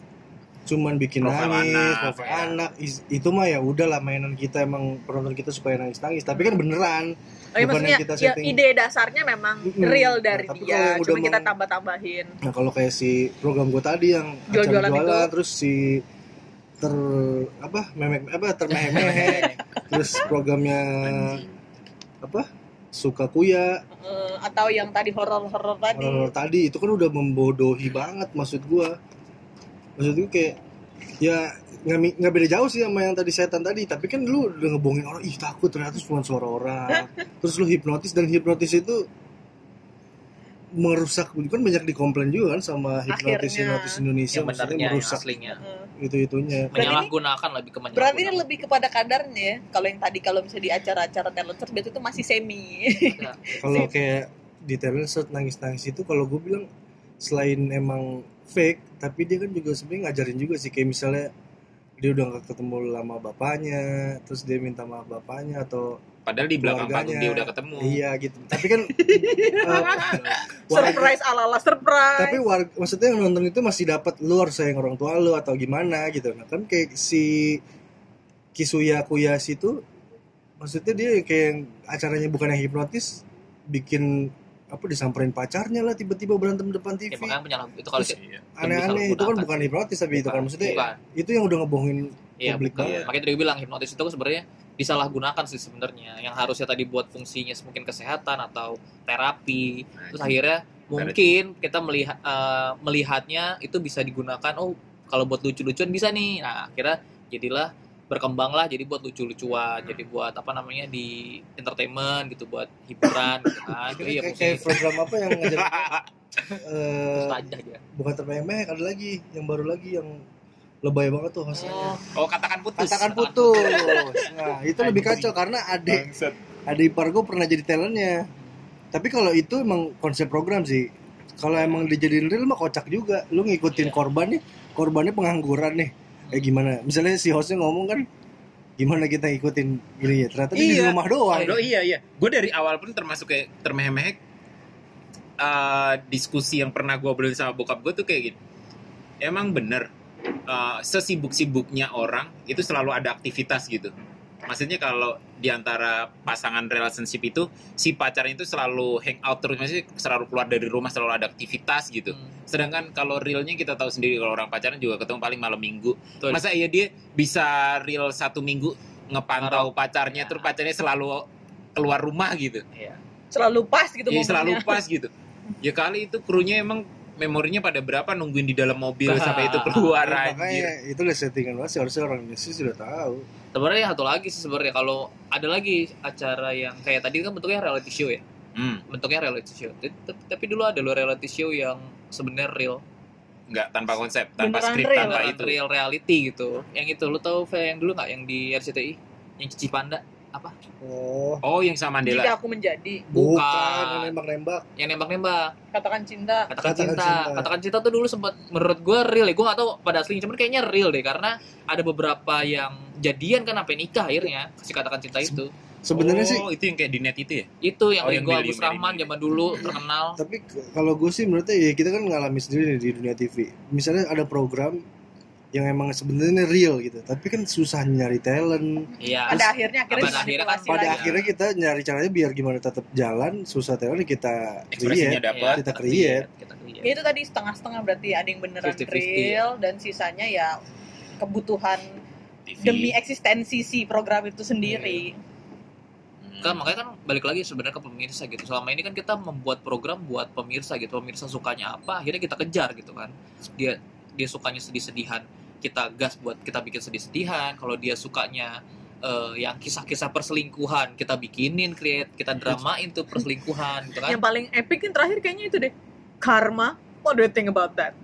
Speaker 2: cuman bikin
Speaker 4: Profil
Speaker 2: nangis
Speaker 4: anak,
Speaker 2: profil
Speaker 4: ya.
Speaker 2: anak is- itu mah ya udahlah mainan kita emang penonton kita supaya nangis nangis tapi kan beneran
Speaker 1: oh, iya
Speaker 2: Bukan
Speaker 1: maksudnya
Speaker 2: yang kita
Speaker 1: ya,
Speaker 2: setting.
Speaker 1: ide dasarnya memang
Speaker 2: Mm-mm.
Speaker 1: real dari
Speaker 2: Nah, tapi kalau
Speaker 1: dia
Speaker 2: yang
Speaker 1: cuma
Speaker 2: udah
Speaker 1: kita
Speaker 2: meng-
Speaker 1: tambah tambahin
Speaker 2: nah kalau kayak si program gue tadi yang acara
Speaker 1: Jual-jualan
Speaker 2: jualan, terus si ter apa memek apa termehek terus programnya Hmm. apa suka kuya
Speaker 1: Eh, atau yang tadi horor horor tadi
Speaker 2: horor tadi itu kan udah membodohi banget maksud gua maksud gua kayak ya nggak mi- nggak beda jauh sih sama yang tadi setan tadi tapi kan lu udah ngebohongin orang ih takut ternyata cuma suara orang terus lu hipnotis dan hipnotis itu merusak kan banyak dikomplain juga kan sama
Speaker 1: Akhirnya.
Speaker 2: hipnotis
Speaker 1: ya
Speaker 2: hipnotis Indonesia
Speaker 3: yang
Speaker 2: maksudnya
Speaker 3: benarnya, yang
Speaker 2: merusak
Speaker 3: aslinya.
Speaker 1: Eh.
Speaker 2: itu itunya
Speaker 1: Berarti ini-
Speaker 3: Menyalahgunakan lebih ke menyalahgunakan.
Speaker 1: Berarti ini lebih kepada kadarnya ya. Kalau yang tadi kalau misalnya di acara-acara talent search biasanya itu masih semi.
Speaker 3: Ya.
Speaker 2: kalau kayak di talent shoot nangis-nangis itu kalau gue bilang selain emang fake tapi dia kan juga sebenarnya ngajarin juga sih kayak misalnya dia udah nggak ketemu lama bapaknya terus dia minta maaf bapaknya atau
Speaker 4: padahal di belakang panggung
Speaker 2: Keluarganya.
Speaker 4: dia udah ketemu
Speaker 2: iya gitu tapi kan eh, warga-
Speaker 1: surprise ala-ala surprise.
Speaker 2: iya. tapi warga, maksudnya yang nonton itu masih dapat lu harus sayang orang tua lu atau gimana gitu nah kan kayak si Kisuya Kuyas itu maksudnya dia kayak yang acaranya bukan yang hipnotis bikin apa disamperin pacarnya lah tiba-tiba berantem depan
Speaker 3: Ya,
Speaker 2: TV
Speaker 3: makanya penyalahgunaan itu kalau
Speaker 2: Terus-
Speaker 4: Iya.
Speaker 2: aneh-aneh itu kan
Speaker 3: disalahgunakan.
Speaker 2: bukan hipnotis tapi itu kan maksudnya
Speaker 3: bukan.
Speaker 2: itu yang udah ngebohongin
Speaker 3: Iya,
Speaker 2: publik
Speaker 3: bukan.
Speaker 4: banget.
Speaker 3: Makanya tadi gue bilang hipnotis itu sebenarnya disalahgunakan sih sebenarnya. Yang harusnya tadi buat fungsinya mungkin kesehatan atau terapi. Terus
Speaker 2: Iya.
Speaker 4: gitu.
Speaker 3: akhirnya mungkin kita melihat eh, melihatnya itu bisa digunakan oh kalau buat lucu-lucuan bisa nih. Nah, akhirnya jadilah berkembanglah jadi buat lucu-lucuan,
Speaker 2: Hmm.
Speaker 3: jadi buat apa namanya di entertainment gitu buat hiburan gitu kan. Itu iya
Speaker 2: kayak,
Speaker 3: fungsinya.
Speaker 2: kayak program apa yang ngajarin
Speaker 3: Terus
Speaker 2: eh,
Speaker 3: tajah dia.
Speaker 2: bukan terpemek ada lagi yang baru lagi yang lebay banget tuh hostnya
Speaker 4: oh katakan putus
Speaker 2: katakan putus nah itu lebih kacau karena adik
Speaker 4: Bangsat.
Speaker 2: adik ipar gue pernah jadi talentnya tapi kalau itu emang konsep program sih kalau emang dijadiin real mah kocak juga lu ngikutin
Speaker 3: Iya.
Speaker 2: korbannya korbannya pengangguran nih eh gimana misalnya si hostnya ngomong kan gimana kita ngikutin ini ya ternyata dia di
Speaker 4: Iya.
Speaker 2: rumah doang
Speaker 4: Waduh, iya iya. Gue dari awal pun termasuk kayak termehek-mehek eh, diskusi yang pernah gue obrolin sama bokap gue tuh kayak gini. Emang bener eh, sesibuk-sibuknya orang itu selalu ada aktivitas gitu. Maksudnya kalau diantara pasangan relationship itu si pacarnya itu selalu hangout terus, maksudnya selalu keluar dari rumah selalu ada aktivitas gitu.
Speaker 3: Hmm.
Speaker 4: Sedangkan kalau realnya kita tahu sendiri kalau orang pacaran juga ketemu paling malam minggu.
Speaker 3: Betul.
Speaker 4: Masa iya dia bisa real satu minggu ngepantau pacarnya
Speaker 3: Ya.
Speaker 4: terus pacarnya selalu keluar rumah gitu.
Speaker 3: Iya.
Speaker 1: selalu pas gitu
Speaker 4: Iya
Speaker 1: momennya.
Speaker 4: selalu pas gitu. Ya kali itu krunya emang memorinya pada berapa nungguin di dalam mobil
Speaker 3: Bah.
Speaker 4: sampai itu keluar anjir.
Speaker 2: makanya itu udah settingan banget sih harusnya orang Indonesia sudah tahu
Speaker 3: Sebenarnya yang satu lagi sih sebenarnya kalau ada lagi acara yang kayak tadi kan bentuknya reality show ya.
Speaker 4: Hmm,
Speaker 3: Bentuknya reality show. Tapi, tapi- tapi dulu ada loh reality show yang sebenarnya real.
Speaker 4: nggak tanpa konsep, tanpa
Speaker 1: Beneran
Speaker 4: skrip,
Speaker 1: real,
Speaker 4: tanpa
Speaker 3: Beneran
Speaker 4: itu.
Speaker 3: real reality gitu. Yang itu lu tahu Fe, yang dulu nggak yang di RCTI? Yang Cici Panda
Speaker 2: oh
Speaker 4: Oh, yang sama Mandela.
Speaker 1: jika aku menjadi
Speaker 3: Bukan.
Speaker 2: bukan nembak nembak
Speaker 3: yang nembak-nembak.
Speaker 1: katakan cinta
Speaker 3: Katakan,
Speaker 2: Katakan
Speaker 3: cinta.
Speaker 2: Cinta.
Speaker 3: Katakan cinta tuh dulu sempat menurut gue real ya. Gue gak tau pada aslinya cuman kayaknya real deh karena ada beberapa yang jadian kan sampai nikah akhirnya si katakan cinta itu.
Speaker 2: sebenarnya
Speaker 4: oh,
Speaker 2: sih
Speaker 4: itu yang kayak di net itu ya?
Speaker 3: Itu yang
Speaker 4: Oh, yang
Speaker 3: Ringo
Speaker 4: Billy,
Speaker 3: Agus
Speaker 4: Billy,
Speaker 3: Rahman
Speaker 4: Billy.
Speaker 3: zaman dulu terkenal.
Speaker 2: tapi ke- kalau gue sih menurutnya ya kita kan ngalami sendiri nih di dunia TV misalnya ada program yang emang sebenarnya real gitu tapi kan susah nyari talent
Speaker 3: Iya.
Speaker 1: pada akhirnya akhirnya
Speaker 3: pada akhirnya kan-
Speaker 1: dimanipulasi
Speaker 2: pada
Speaker 1: lagi.
Speaker 3: Iya.
Speaker 2: akhirnya kita nyari caranya biar gimana tetap jalan susah talent ya kita
Speaker 4: Ekspresinya
Speaker 2: create
Speaker 4: dapat.
Speaker 2: Kita create.
Speaker 3: Kita
Speaker 1: Ya,
Speaker 3: Iya, create.
Speaker 1: itu tadi setengah-setengah berarti ya, ada yang beneran
Speaker 3: 50-50,
Speaker 1: real dan sisanya ya kebutuhan
Speaker 4: TV.
Speaker 1: demi eksistensi si program itu sendiri.
Speaker 4: Hmm.
Speaker 3: Kan makanya kan balik lagi sebenarnya ke pemirsa gitu. Selama ini kan kita membuat program buat pemirsa gitu. Pemirsa sukanya apa, akhirnya kita kejar gitu kan. Dia dia sukanya sedih-sedihan, kita gas buat kita bikin sedih-sedihan. Kalau dia sukanya eh, yang kisah-kisah perselingkuhan, kita bikinin create, kita dramain tuh perselingkuhan gitu kan.
Speaker 1: Yang paling epic yang terakhir kayaknya itu deh. Karma. What do you think about that?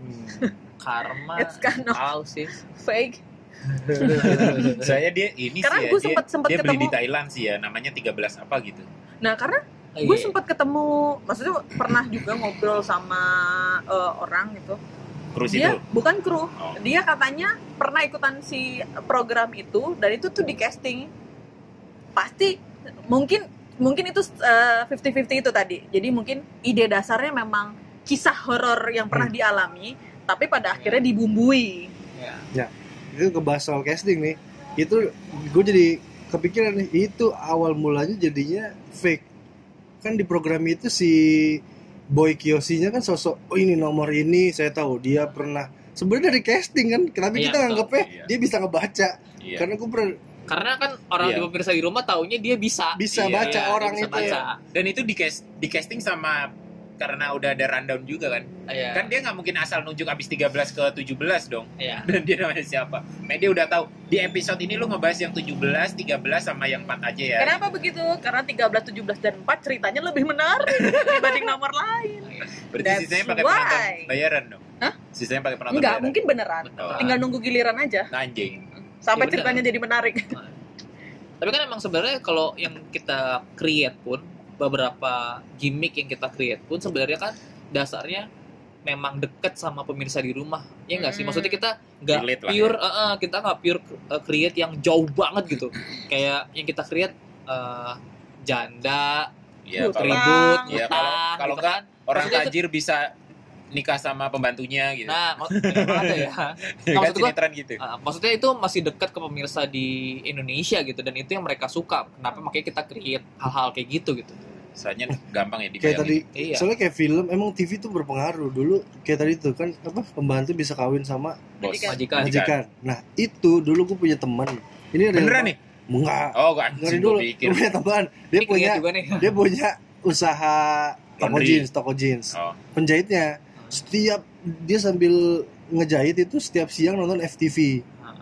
Speaker 3: Karma.
Speaker 1: It's kind of
Speaker 3: tahu sih.
Speaker 1: fake.
Speaker 2: Hmm.
Speaker 4: Saya dia ini
Speaker 1: Karena
Speaker 4: sih ya,
Speaker 1: gue
Speaker 4: dia,
Speaker 1: sempet- sempet
Speaker 4: dia beli di
Speaker 1: ketemu-
Speaker 4: Thailand sih ya, namanya 13 apa gitu.
Speaker 1: Nah, karena gue
Speaker 3: Iya.
Speaker 1: sempat ketemu, maksudnya pernah juga ngobrol sama eh, orang gitu.
Speaker 4: Cruise
Speaker 1: dia
Speaker 4: itu.
Speaker 1: bukan kru
Speaker 4: Oh.
Speaker 1: dia katanya pernah ikutan si program itu dan itu tuh di casting pasti mungkin mungkin itu fifty 50-50 itu tadi jadi mungkin ide dasarnya memang kisah horor yang pernah
Speaker 4: Hmm.
Speaker 1: dialami tapi pada akhirnya dibumbui
Speaker 3: iya.
Speaker 2: itu ngebahas soal casting nih itu gue jadi kepikiran nih itu awal mulanya jadinya fake kan di program itu si Boy Kiosinya kan sosok oh ini nomor ini saya tahu dia pernah sebenarnya dari casting kan tapi kita
Speaker 3: Iya, betul.
Speaker 2: nganggepnya
Speaker 4: Iya.
Speaker 2: dia bisa ngebaca
Speaker 4: Iya.
Speaker 2: karena gue pernah
Speaker 3: Karena kan orang
Speaker 4: Iya.
Speaker 3: di pemirsa di rumah taunya dia bisa.
Speaker 2: bisa
Speaker 4: Iya,
Speaker 2: baca
Speaker 3: Iya,
Speaker 2: orang
Speaker 3: dia bisa
Speaker 2: itu ya.
Speaker 3: baca.
Speaker 4: Dan itu di, cas- di casting sama karena udah ada rundown juga kan.
Speaker 3: Iya.
Speaker 4: Kan dia nggak mungkin asal nunjuk abis 13 ke 17 dong.
Speaker 3: Iya.
Speaker 4: Dan dia namanya siapa? Media udah tahu. Di episode ini lu ngebahas yang 17, 13 sama yang 4 aja ya.
Speaker 1: kenapa begitu karena 13 17 dan 4 ceritanya lebih menarik dibanding nomor lain
Speaker 4: Berarti
Speaker 1: That's
Speaker 4: sisanya pakai
Speaker 1: why.
Speaker 4: penonton bayaran dong.
Speaker 1: Hah?
Speaker 4: Sisanya pakai penonton
Speaker 1: enggak
Speaker 4: bayaran. Nah,
Speaker 1: mungkin beneran
Speaker 3: Beneran.
Speaker 1: tinggal nunggu giliran aja
Speaker 4: Anjing.
Speaker 1: sampai
Speaker 3: Ya bener.
Speaker 1: ceritanya jadi menarik
Speaker 2: Kan
Speaker 3: Tapi kan emang sebenarnya kalau yang kita create pun beberapa gimmick yang kita create pun sebenarnya kan dasarnya memang deket sama pemirsa di rumah ya nggak sih
Speaker 1: Hmm.
Speaker 3: maksudnya kita nggak
Speaker 4: Relate lah ya.
Speaker 3: pure eh, eh, kita nggak pure eh, create yang jauh banget gitu kayak yang kita create eh, janda
Speaker 4: Iya,
Speaker 1: Utang.
Speaker 4: kalau
Speaker 3: ribut
Speaker 4: Iya,
Speaker 3: utang
Speaker 4: kalau- kalau
Speaker 3: gitu
Speaker 4: nggak,
Speaker 3: kan.
Speaker 4: orang
Speaker 3: Maksudnya itu-
Speaker 4: tajir bisa nikah sama pembantunya gitu.
Speaker 3: nah mak- apa ya
Speaker 4: kan
Speaker 3: maksud gua-
Speaker 4: sinetron gitu.
Speaker 3: Ah, maksudnya itu masih dekat ke pemirsa di Indonesia gitu dan itu yang mereka suka kenapa makanya kita create hal-hal kayak gitu gitu
Speaker 4: Soalnya gampang ya
Speaker 2: kayak
Speaker 4: dibayangin.
Speaker 2: tadi
Speaker 3: iya
Speaker 2: soalnya kayak film emang TV tuh berpengaruh dulu kayak tadi tuh kan apa pembantu bisa kawin sama
Speaker 4: Bos.
Speaker 1: Majikan.
Speaker 3: majikan
Speaker 2: majikan nah itu dulu gue punya teman ini real banget.
Speaker 4: Beneran nih?
Speaker 2: enggak
Speaker 4: Oh, gua
Speaker 2: Dengerin
Speaker 4: anjing
Speaker 2: dulu,
Speaker 4: gua pikir.
Speaker 2: gue punya teman. Dia
Speaker 3: Ini
Speaker 2: punya
Speaker 3: keinget juga nih
Speaker 2: dia punya usaha toko
Speaker 4: Laundry.
Speaker 2: jeans, toko jeans.
Speaker 4: Oh.
Speaker 2: Penjahitnya setiap dia sambil ngejahit itu setiap siang nonton FTV.
Speaker 3: Ah.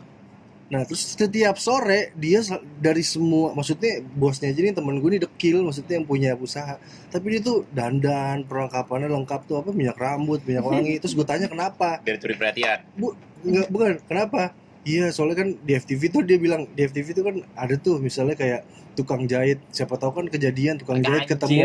Speaker 2: Nah, terus setiap sore dia sel- dari semua maksudnya bosnya aja nih temen gue nih dekil maksudnya yang punya usaha. Tapi dia tuh dandan, perlengkapannya lengkap tuh apa minyak rambut, minyak wangi. terus gue tanya kenapa?
Speaker 4: Biar curi perhatian.
Speaker 2: Enggak, bukan. Kenapa? Iya, soalnya kan di FTV tuh dia bilang di FTV tuh kan ada tuh misalnya kayak tukang jahit. Siapa tahu kan kejadian tukang jahit
Speaker 3: Anjir.
Speaker 2: ketemu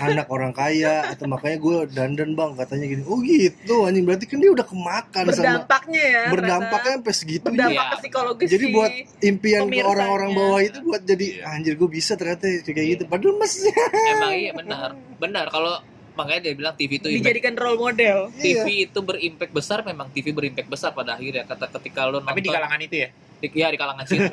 Speaker 2: anak orang kaya atau makanya gue dandan bang katanya gini. Oh gitu anjing berarti kan dia udah kemakan sama
Speaker 1: berdampaknya ya
Speaker 2: berdampaknya
Speaker 1: ternyata.
Speaker 2: sampai segitunya.
Speaker 1: berdampak
Speaker 3: Iya.
Speaker 1: ke psikologis
Speaker 2: Jadi
Speaker 1: si-
Speaker 2: buat Impian ke
Speaker 1: pemirsanya.
Speaker 2: orang-orang bawah itu buat jadi
Speaker 4: Iya.
Speaker 2: anjir gue bisa ternyata kayak
Speaker 3: Iya.
Speaker 2: gitu. Padahal masih
Speaker 3: emang iya benar benar kalau makanya dia bilang TV itu impact-
Speaker 1: dijadikan role model
Speaker 2: iya.
Speaker 3: TV itu berimpact besar memang TV berimpact besar pada akhirnya kata ketika lo nonton
Speaker 4: Tapi di kalangan itu ya.
Speaker 3: di- ya di kalangan situ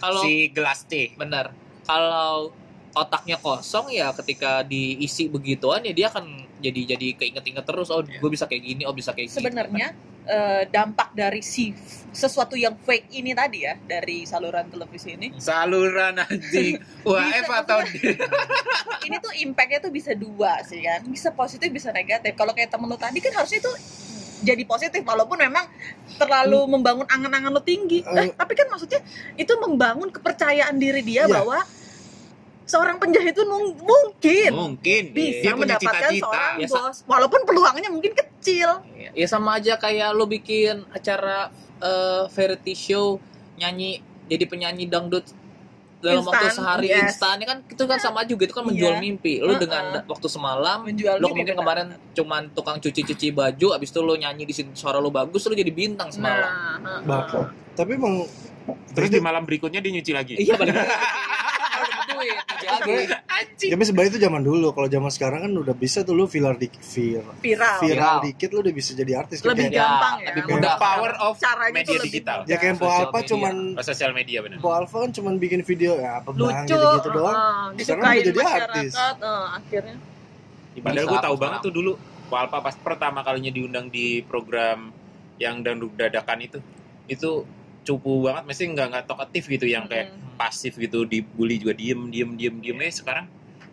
Speaker 3: kalau
Speaker 4: si gelas teh.
Speaker 3: benar kalau otaknya kosong ya ketika diisi begituan ya dia akan jadi jadi keinget-inget terus oh
Speaker 4: Iya.
Speaker 3: gue bisa kayak gini oh bisa kayak gini
Speaker 1: sebenarnya eh, dampak dari si f- sesuatu yang fake ini tadi ya dari saluran televisi ini
Speaker 4: saluran anjing
Speaker 1: Bisa,
Speaker 4: UHF
Speaker 1: ya.
Speaker 4: atau
Speaker 1: ini tuh impactnya tuh bisa dua sih kan bisa positif bisa negatif kalau kayak temen lu tadi kan harusnya itu jadi positif walaupun memang terlalu membangun angan-angan lu tinggi
Speaker 2: Hmm. Eh.
Speaker 1: Eh, tapi kan maksudnya itu membangun kepercayaan diri dia
Speaker 2: Iya.
Speaker 1: bahwa seorang penjahit itu mung-
Speaker 3: Oh.
Speaker 1: mungkin
Speaker 4: mungkin
Speaker 1: bisa
Speaker 4: dia punya
Speaker 1: mendapatkan
Speaker 4: cita-cita
Speaker 1: seorang
Speaker 3: Ya, sa-
Speaker 1: bos walaupun peluangnya mungkin kecil
Speaker 3: ya sama aja kayak lo bikin acara eh, variety show nyanyi jadi penyanyi dangdut dalam waktu
Speaker 1: Instan,
Speaker 3: sehari
Speaker 1: yes.
Speaker 3: instan ya kan itu kan sama juga itu kan menjual
Speaker 1: Iya.
Speaker 3: mimpi lo
Speaker 1: Heeh.
Speaker 3: dengan da- waktu semalam
Speaker 1: menjual diri,
Speaker 3: lo
Speaker 1: kan.
Speaker 3: mungkin
Speaker 1: benar.
Speaker 3: kemarin cuman tukang cuci-cuci baju abis itu lo nyanyi di sini suara lo bagus lo jadi bintang
Speaker 1: nah
Speaker 3: semalam
Speaker 1: heeh.
Speaker 2: Bah- tapi emang
Speaker 4: terus di malam berikutnya dia nyuci lagi
Speaker 3: iya balik lagi Kalau dapet duit dijaga.
Speaker 4: anjing
Speaker 2: tapi sebenarnya ya, itu zaman dulu kalau zaman sekarang kan udah bisa tuh lu viral di viral
Speaker 1: viral
Speaker 2: viral dikit lu udah bisa jadi artis
Speaker 1: Lebih
Speaker 2: kayak,
Speaker 3: Ya,
Speaker 1: gampang ya.
Speaker 3: lebih
Speaker 4: the
Speaker 3: mudah
Speaker 4: power of
Speaker 1: caranya
Speaker 4: media
Speaker 1: tuh lebih
Speaker 4: digital
Speaker 2: ya kayak Po Alpha
Speaker 3: Social Iya, media.
Speaker 2: cuman
Speaker 4: oh, sosial media benar
Speaker 2: Po Alpha kan cuman bikin video ya apa bang
Speaker 1: lucu uh-uh.
Speaker 2: gitu, gitu doang
Speaker 1: heeh,
Speaker 2: Sekarang
Speaker 1: disukai
Speaker 2: udah jadi artis.
Speaker 1: masyarakat heeh, akhirnya
Speaker 4: padahal
Speaker 3: Bisa
Speaker 4: gue tahu
Speaker 3: apa
Speaker 4: banget tuh dulu Walpa pas pertama kalinya diundang di program yang dangdut dadakan itu itu cupu banget mesti nggak nggak talkative gitu yang kayak
Speaker 1: Mm.
Speaker 4: pasif gitu dibully juga diem diem diem diem
Speaker 2: Iya.
Speaker 4: eh sekarang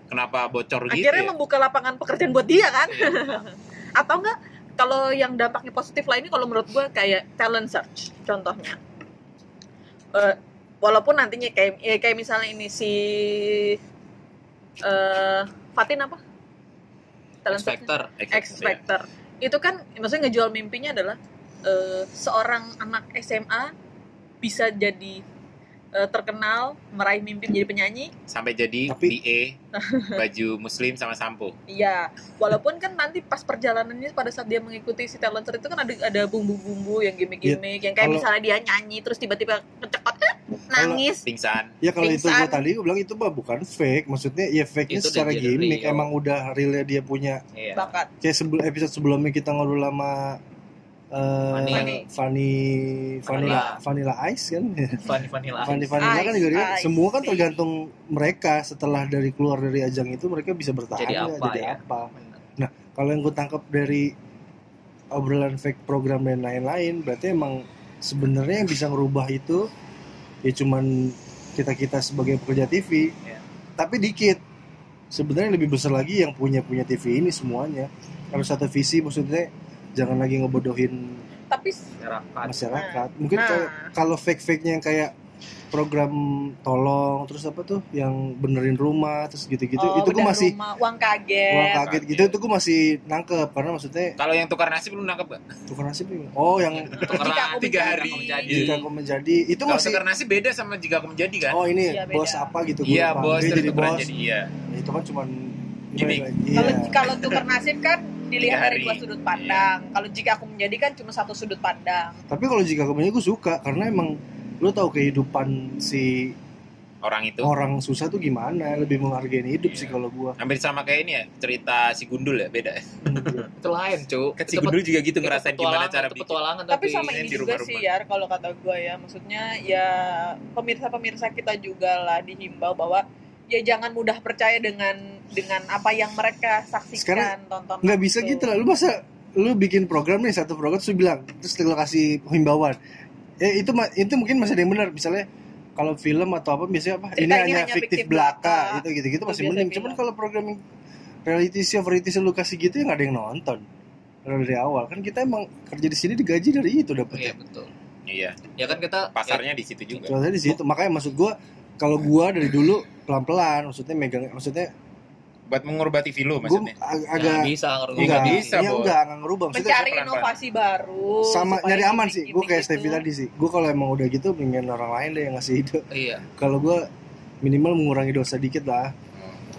Speaker 4: kenapa bocor gitu
Speaker 1: akhirnya
Speaker 4: ya? Iya.
Speaker 1: membuka lapangan pekerjaan buat dia kan atau enggak kalau yang dampaknya positif lainnya kalau menurut gue kayak talent search contohnya Eh, walaupun nantinya kayak ya kayak misalnya ini si eh Fatin apa talent
Speaker 3: X
Speaker 1: search
Speaker 3: Factor
Speaker 2: Iya.
Speaker 1: X
Speaker 4: ya.
Speaker 1: Factor itu kan maksudnya ngejual mimpinya adalah eh, seorang anak SMA bisa jadi eh, terkenal meraih mimpi menjadi penyanyi
Speaker 4: sampai jadi
Speaker 2: Tapi-
Speaker 4: DA baju muslim sama sampo
Speaker 1: Iya, walaupun kan nanti pas perjalanannya pada saat dia mengikuti si talenter itu kan ada ada bumbu-bumbu yang gimmick-gimmick yang kayak
Speaker 2: Iya. kalau-
Speaker 1: misalnya dia nyanyi terus tiba-tiba kecekot eh, nangis.
Speaker 4: pingsan
Speaker 2: ya kalau itu
Speaker 1: Pingsan.
Speaker 2: gua tadi gua bilang itu mah bukan fake maksudnya ya fake nya
Speaker 3: Itu udah
Speaker 2: secara
Speaker 3: jadi
Speaker 2: gimmick
Speaker 3: real.
Speaker 2: emang udah realnya dia punya
Speaker 3: Iya.
Speaker 1: Bakat.
Speaker 2: kayak sebelum episode sebelumnya kita ngobrol sama
Speaker 3: Fanny.
Speaker 2: eh Fanny Vanilla Vanilla Ice kan
Speaker 3: Fanny Vanilla
Speaker 2: Fanny
Speaker 3: Ice.
Speaker 2: Vanilla kan
Speaker 1: Ice,
Speaker 2: juga dia,
Speaker 1: ice.
Speaker 2: semua kan tergantung mereka setelah dari keluar dari ajang itu mereka bisa bertahan
Speaker 3: Jadi
Speaker 2: nggak,
Speaker 3: apa,
Speaker 2: jadi
Speaker 3: ya?
Speaker 2: apa. Kalau yang gue tangkap dari obrolan fake program dan lain-lain berarti emang sebenarnya yang bisa ngerubah itu ya cuman kita-kita sebagai pekerja TV.
Speaker 3: Iya.
Speaker 2: Tapi dikit. Sebenarnya lebih besar lagi yang punya punya TV ini semuanya. Kalau satu visi maksudnya jangan lagi ngebodohin
Speaker 1: Tapi
Speaker 3: Masyarakat.
Speaker 2: masyarakat. Mungkin
Speaker 1: nah,
Speaker 2: kalau kalau fake-fake-nya yang kayak program tolong terus apa tuh yang benerin rumah terus gitu-gitu
Speaker 1: oh,
Speaker 2: itu gue
Speaker 1: bedah
Speaker 2: masih
Speaker 1: rumah, uang kaget.
Speaker 2: uang kaget gitu itu gue masih nangkep karena maksudnya
Speaker 4: kalau yang tukar nasi belum nangkep gak?
Speaker 2: tukar nasib ini. oh yang
Speaker 1: Jika aku
Speaker 3: Tukeran
Speaker 4: tiga
Speaker 1: menjadi-
Speaker 4: hari.
Speaker 3: menjadi.
Speaker 2: jika aku menjadi itu
Speaker 4: kalau
Speaker 2: masih
Speaker 4: tukar nasi beda sama jika aku menjadi kan?
Speaker 2: oh ini
Speaker 1: Iya, beda.
Speaker 2: bos apa gitu gua
Speaker 4: iya
Speaker 2: lupa.
Speaker 4: bos,
Speaker 2: Dia
Speaker 4: terus
Speaker 2: jadi
Speaker 4: tukeran
Speaker 2: bos
Speaker 4: jadi iya
Speaker 2: Ya, itu kan cuman
Speaker 4: Gini.
Speaker 2: gimana,
Speaker 1: Kalau
Speaker 2: iya
Speaker 1: kalau tukar nasib kan dilihat
Speaker 4: Tiga
Speaker 1: dari
Speaker 4: hari.
Speaker 1: dua sudut pandang. Kalau jika aku menjadikan cuma satu sudut pandang.
Speaker 2: tapi kalau jika aku menjadi gue suka karena emang lu tahu kehidupan si
Speaker 4: orang itu
Speaker 2: orang susah tuh gimana lebih menghargai hidup
Speaker 4: Iya.
Speaker 2: sih kalau gua
Speaker 4: hampir sama kayak ini ya cerita si gundul ya beda
Speaker 2: Iya.
Speaker 3: Itu lain, cu.
Speaker 4: kan
Speaker 3: Itu
Speaker 4: si gundul juga gitu
Speaker 3: itu
Speaker 4: ngerasain gimana
Speaker 3: petualangan,
Speaker 4: cara
Speaker 3: itu
Speaker 4: bikin
Speaker 3: petualangan tapi, Iya,
Speaker 1: tapi sama
Speaker 4: ini
Speaker 1: ini
Speaker 4: di
Speaker 1: juga
Speaker 4: rumah-rumah.
Speaker 1: sih ya kalau kata gue ya maksudnya ya pemirsa-pemirsa kita juga lah dihimbau bahwa ya jangan mudah percaya dengan dengan apa yang mereka saksikan
Speaker 2: Sekarang
Speaker 1: tonton
Speaker 2: nggak bisa gitu lah lu masa lu bikin program nih satu program terus lu bilang terus lu kasih himbauan ya itu ma- itu mungkin masih ada yang benar misalnya kalau film atau apa biasanya apa
Speaker 1: Cerita
Speaker 2: ini, hanya fiktif belaka gitu gitu gitu
Speaker 1: Itu
Speaker 2: masih
Speaker 1: biasa
Speaker 2: mending
Speaker 1: bilang.
Speaker 2: cuman kalau program yang reality show variety show lu kasih gitu ya nggak ada yang nonton dari awal kan kita emang kerja di sini digaji dari itu ya.
Speaker 3: Iya,
Speaker 2: dapetnya
Speaker 3: betul.
Speaker 4: iya
Speaker 3: Ya kan kita
Speaker 4: pasarnya di situ juga
Speaker 2: Contohnya di situ makanya maksud gua kalau gua dari dulu pelan pelan maksudnya megang maksudnya,
Speaker 4: buat mengurubati TV lu
Speaker 2: gua
Speaker 4: maksudnya
Speaker 2: ag-
Speaker 3: ya,
Speaker 2: agak
Speaker 3: nggak bisa
Speaker 4: Ya,
Speaker 2: enggak,
Speaker 4: nggak
Speaker 3: ngerubah.
Speaker 4: bisa,
Speaker 2: ya
Speaker 4: Bo.
Speaker 2: enggak, enggak ngerubah maksudnya
Speaker 1: mencari
Speaker 4: pelan-pelan.
Speaker 1: inovasi baru
Speaker 2: sama
Speaker 1: supaya gitu.
Speaker 2: nyari aman
Speaker 1: gimmick-
Speaker 2: sih gue kayak
Speaker 1: gimmick
Speaker 2: Stevie
Speaker 1: itu-
Speaker 2: tadi sih gue kalau emang udah gitu pengen orang lain deh yang ngasih ide
Speaker 3: Iya.
Speaker 2: kalau gue minimal mengurangi dosa dikit lah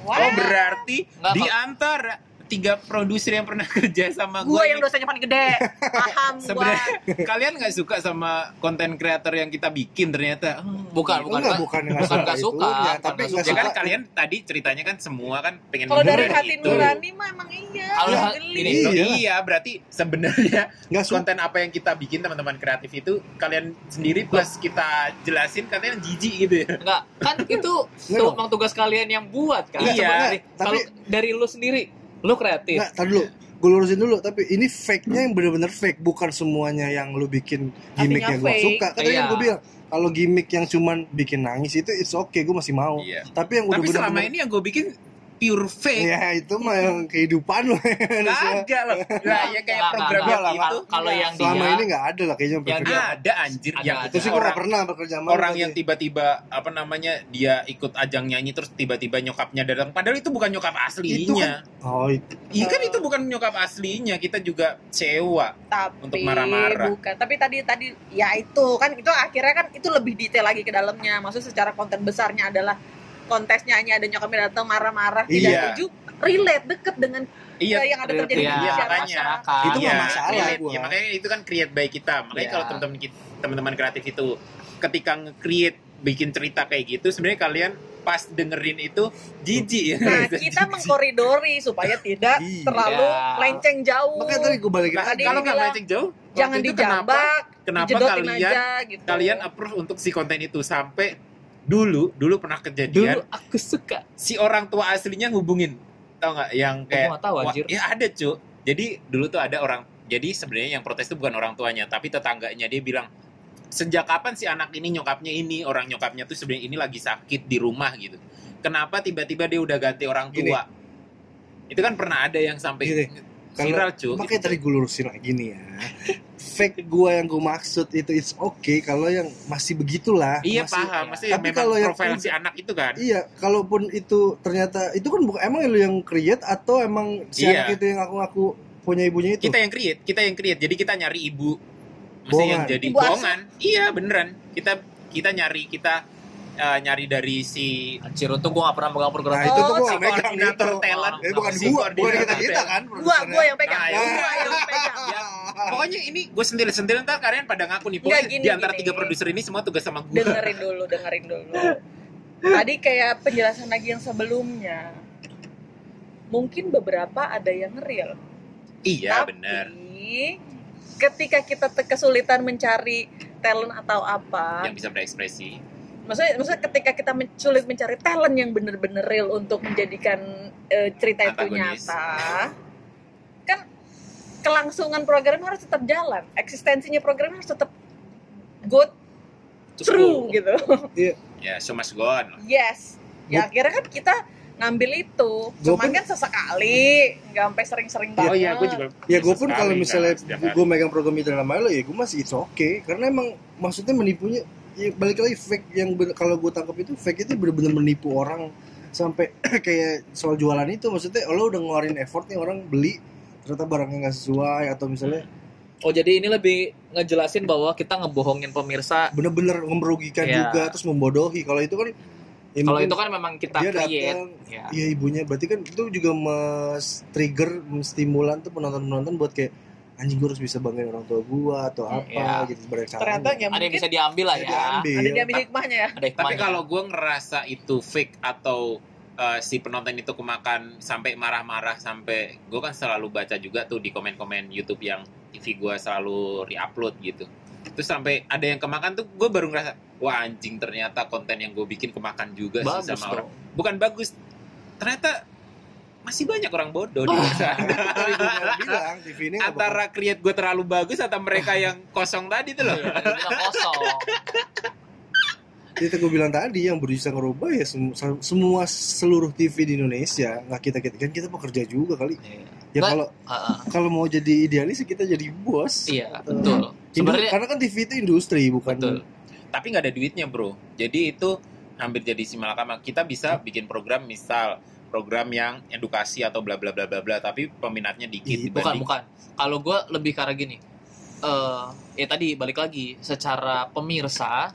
Speaker 1: Wah,
Speaker 4: oh berarti
Speaker 3: Nggak,
Speaker 4: di
Speaker 3: Pak.
Speaker 4: antara tiga produser yang pernah kerja sama
Speaker 1: gue
Speaker 4: gue
Speaker 1: yang dosanya paling gede paham gue
Speaker 4: sebenarnya kalian nggak suka sama konten kreator yang kita bikin ternyata Hmm.
Speaker 3: Bukan,
Speaker 2: Oh,
Speaker 3: bukan.
Speaker 2: enggak
Speaker 3: Pak.
Speaker 2: bukan nggak
Speaker 3: bukan
Speaker 2: suka,
Speaker 3: nggak
Speaker 2: itu
Speaker 3: suka,
Speaker 2: ya,
Speaker 3: bukan
Speaker 2: tapi
Speaker 3: nggak
Speaker 2: nggak
Speaker 4: ya
Speaker 2: suka
Speaker 4: kan kalian tadi ceritanya kan semua kan pengen
Speaker 1: kalau dari
Speaker 4: mengurubah
Speaker 1: hati
Speaker 4: itu.
Speaker 1: nurani mah emang iya
Speaker 3: Kalau
Speaker 1: iya,
Speaker 3: ha-
Speaker 1: geli.
Speaker 3: ini-
Speaker 4: Loh,
Speaker 2: Iya.
Speaker 4: iya berarti sebenarnya
Speaker 2: nggak suka
Speaker 4: konten apa yang kita bikin teman-teman kreatif itu kalian sendiri plus kita jelasin katanya jijik gitu ya
Speaker 3: Enggak, kan itu
Speaker 2: Nggak
Speaker 3: tuh
Speaker 2: dong.
Speaker 3: emang tugas kalian yang buat kan.
Speaker 4: Iya,
Speaker 3: Sebenarnya.
Speaker 2: tapi-
Speaker 3: Kalau dari lu sendiri, lu kreatif.
Speaker 2: nggak tadi dulu gue lurusin dulu tapi ini fake nya yang bener-bener fake bukan semuanya yang lu bikin gimmick
Speaker 1: Artinya
Speaker 2: yang gue
Speaker 1: fake.
Speaker 2: suka tadi
Speaker 3: Iya.
Speaker 2: kan gue bilang kalau gimmick yang cuman bikin nangis itu it's okay gue masih mau
Speaker 4: Iya.
Speaker 2: tapi yang udah
Speaker 4: Tapi
Speaker 2: bener
Speaker 4: selama ini yang gue bikin pure fake.
Speaker 2: ya itu mah yang kehidupan lu
Speaker 4: Kagak loh. Lah ya kayak
Speaker 3: Nggak,
Speaker 4: programnya
Speaker 2: nggak, nggak.
Speaker 4: gitu.
Speaker 3: Kalau yang dia
Speaker 2: selama ini nggak ada lah kayaknya yang
Speaker 3: Yang
Speaker 2: perfect.
Speaker 3: dia-
Speaker 4: ada anjir
Speaker 3: Ada,
Speaker 4: yang
Speaker 3: Iya. ada.
Speaker 2: itu sih gue
Speaker 4: orang
Speaker 2: nggak pernah bekerja sama
Speaker 4: orang
Speaker 2: tadi.
Speaker 4: yang tiba-tiba apa namanya dia ikut ajang nyanyi terus tiba-tiba nyokapnya datang padahal itu bukan nyokap
Speaker 2: Itu
Speaker 4: aslinya.
Speaker 2: oh itu
Speaker 4: Iya kan itu bukan nyokap aslinya, kita juga sewa.
Speaker 1: tapi
Speaker 4: Untuk marah-marah.
Speaker 1: bukan tapi tadi tadi ya itu kan itu akhirnya kan itu lebih detail lagi ke dalamnya maksud secara konten besarnya adalah kontesnya hanya ada nyokapnya datang marah-marah
Speaker 4: Iya.
Speaker 1: tidak setuju relate deket dengan eh,
Speaker 4: Iya,
Speaker 1: yang ada terjadi
Speaker 4: iya,
Speaker 1: di Indonesia
Speaker 4: makanya.
Speaker 3: masyarakat.
Speaker 2: Itu
Speaker 4: iya,
Speaker 2: nggak masalah
Speaker 4: relate.
Speaker 2: gua.
Speaker 4: Ya, makanya itu kan create by kita. Makanya
Speaker 3: Iya.
Speaker 4: kalau teman-teman kita- teman-teman kreatif itu ketika nge-create bikin cerita kayak gitu sebenarnya kalian pas dengerin itu jijik ya.
Speaker 1: nah kita mengkoridori supaya tidak
Speaker 2: Iya.
Speaker 1: terlalu
Speaker 3: Iya.
Speaker 1: melenceng jauh
Speaker 2: makanya tadi gue balikin
Speaker 4: Nah,
Speaker 1: Tadi
Speaker 4: kalau nggak
Speaker 1: dibilang,
Speaker 4: melenceng jauh, waktu
Speaker 1: jangan
Speaker 4: itu
Speaker 1: dijambak
Speaker 4: Kenapa, kenapa
Speaker 1: dijedotin
Speaker 4: kalian
Speaker 1: aja gitu
Speaker 4: kalian approve untuk si konten itu sampai dulu dulu pernah
Speaker 3: Dulu
Speaker 4: kejadian
Speaker 3: aku suka.
Speaker 4: si orang tua aslinya ngubungin tau nggak yang
Speaker 3: Aku
Speaker 4: kayak
Speaker 3: nggak tahu
Speaker 4: wah,
Speaker 3: anjir.
Speaker 4: ya ada cu jadi dulu tuh ada orang jadi sebenarnya yang protes itu bukan orang tuanya tapi tetangganya dia bilang sejak kapan si anak ini nyokapnya ini orang nyokapnya tuh sebenarnya ini lagi sakit di rumah gitu kenapa tiba-tiba dia udah ganti orang
Speaker 2: Gini.
Speaker 4: tua itu kan pernah ada yang sampai
Speaker 2: Gini. Karena-
Speaker 4: viral cu
Speaker 2: makanya tadi gue lurusin lagi nih ya fake gue yang gue maksud itu it's okay kalau yang masih begitulah
Speaker 4: iya
Speaker 2: masih
Speaker 4: paham
Speaker 3: iya.
Speaker 4: masih
Speaker 2: Tapi
Speaker 4: memang
Speaker 2: kalau yang-
Speaker 4: profil si anak itu kan
Speaker 2: Iya, kalaupun itu ternyata itu kan bukan emang lu yang create atau emang si
Speaker 4: Iya.
Speaker 2: anak itu yang aku aku punya ibunya itu.
Speaker 4: kita yang create kita yang create jadi kita nyari ibu mesti
Speaker 2: Bohongan.
Speaker 4: yang jadi
Speaker 1: Ibu asuh.
Speaker 4: bohongan iya beneran kita kita nyari kita eh, nyari dari si
Speaker 3: Anjir, untung gue gak pernah megang program
Speaker 1: Oh,
Speaker 2: Nah, itu tuh gua
Speaker 4: si
Speaker 2: nggak megang itu.
Speaker 4: koordinator talent
Speaker 2: Eh, bukan
Speaker 4: si
Speaker 2: gua, bukan
Speaker 4: koordinator
Speaker 2: kita kita
Speaker 4: talent.
Speaker 2: kan.
Speaker 1: gua gua yang pegang
Speaker 4: Nah, ya.
Speaker 1: gua yang pegang
Speaker 4: pokoknya ini gue sendiri sendiri ntar kalian pada ngaku nih
Speaker 1: Nggak,
Speaker 4: pokoknya
Speaker 1: gini,
Speaker 4: di antara
Speaker 1: gini.
Speaker 4: tiga produser ini semua tugas sama gue
Speaker 1: dengerin dulu dengerin dulu tadi kayak penjelasan lagi yang sebelumnya mungkin beberapa ada yang real
Speaker 4: iya
Speaker 1: tapi
Speaker 4: bener
Speaker 1: ketika kita te- kesulitan mencari talent atau apa
Speaker 4: yang bisa berekspresi
Speaker 1: maksudnya maksudnya ketika kita men- sulit mencari talent yang bener-bener real untuk menjadikan eh, cerita itu
Speaker 4: Antagonis.
Speaker 1: nyata kan kelangsungan program harus tetap jalan eksistensinya program harus tetap good true
Speaker 3: Terus,
Speaker 1: gitu
Speaker 4: ya so much gone
Speaker 1: Yes. Ya
Speaker 2: Gua-
Speaker 1: akhirnya kan kita ngambil itu.
Speaker 2: Gua
Speaker 1: Cuman
Speaker 2: pun-
Speaker 1: kan sesekali, nggak sampai sering-sering banget.
Speaker 4: oh iya gue juga
Speaker 2: Ya gue pun
Speaker 4: sekali
Speaker 2: kalau
Speaker 4: kan,
Speaker 2: misalnya
Speaker 4: setiap
Speaker 2: gue megang program itu nama lo ya gue masih it's okay karena emang maksudnya menipunya ya balik lagi fake yang bener- kalau gue tangkap itu fake itu bener-bener menipu orang sampai kayak soal jualan itu maksudnya lo udah ngeluarin effort nih orang beli ternyata barangnya nggak sesuai atau misalnya
Speaker 3: Oh jadi ini lebih ngejelasin bahwa kita ngebohongin pemirsa.
Speaker 2: bener-bener merugikan
Speaker 3: Iya.
Speaker 2: juga terus membodohi kalau itu kan ya
Speaker 3: Kalau
Speaker 2: mungkin
Speaker 3: itu kan memang kita
Speaker 2: dia
Speaker 3: create.
Speaker 2: datang
Speaker 3: Ya.
Speaker 2: Iya ibunya berarti kan itu juga mas trigger menstimulan tuh penonton penonton buat kayak anjing gue harus bisa banggain orang tua gue atau apa
Speaker 3: Iya.
Speaker 2: gitu sebanyak caranya.
Speaker 1: Ternyata ya
Speaker 3: Ada yang
Speaker 1: mungkin
Speaker 3: bisa diambil lah
Speaker 2: Ya,
Speaker 3: ya.
Speaker 2: diambil.
Speaker 1: ada dia ambil hikmahnya ya.
Speaker 3: Ada
Speaker 4: Tapi
Speaker 3: hikmahnya.
Speaker 4: kalau gue ngerasa itu fake atau uh, si penonton itu kemakan sampai marah-marah sampai gue kan selalu baca juga tuh di komen-komen YouTube yang TV gue selalu reupload gitu. Terus sampai ada yang kemakan tuh gue baru ngerasa wah anjing ternyata konten yang gue bikin kemakan juga
Speaker 3: bagus
Speaker 4: sih sama
Speaker 3: dong.
Speaker 4: orang. Bukan bagus, ternyata masih banyak orang bodoh
Speaker 3: Oh.
Speaker 4: di luar sana.
Speaker 2: Tadi gua malah bilang TV ini
Speaker 3: Iya,
Speaker 2: nggak
Speaker 4: antara create gue terlalu bagus atau mereka yang kosong tadi tuh loh.
Speaker 3: Iya, bener-bener kosong.
Speaker 2: bakal- itu gue bilang tadi yang berusaha ngerubah ya sem- sem- semua seluruh TV di Indonesia nggak kita kita kan kita pekerja juga kali
Speaker 3: Iya.
Speaker 2: ya
Speaker 3: Nggak.
Speaker 2: kalau
Speaker 3: Heeh.
Speaker 2: kalau mau jadi idealis ya kita jadi bos
Speaker 3: Iya
Speaker 2: Atau-
Speaker 3: betul.
Speaker 2: Indu-
Speaker 3: Sebenarnya
Speaker 2: karena kan TV itu industri bukan
Speaker 3: betul.
Speaker 4: tapi nggak ada duitnya bro jadi itu hampir jadi si malakama kita bisa bikin program misal program yang edukasi atau bla bla bla bla bla tapi peminatnya dikit
Speaker 2: Iya,
Speaker 3: Bukan
Speaker 4: dibanding
Speaker 3: bukan. Kalau gue lebih karena gini. Eh ya tadi balik lagi secara pemirsa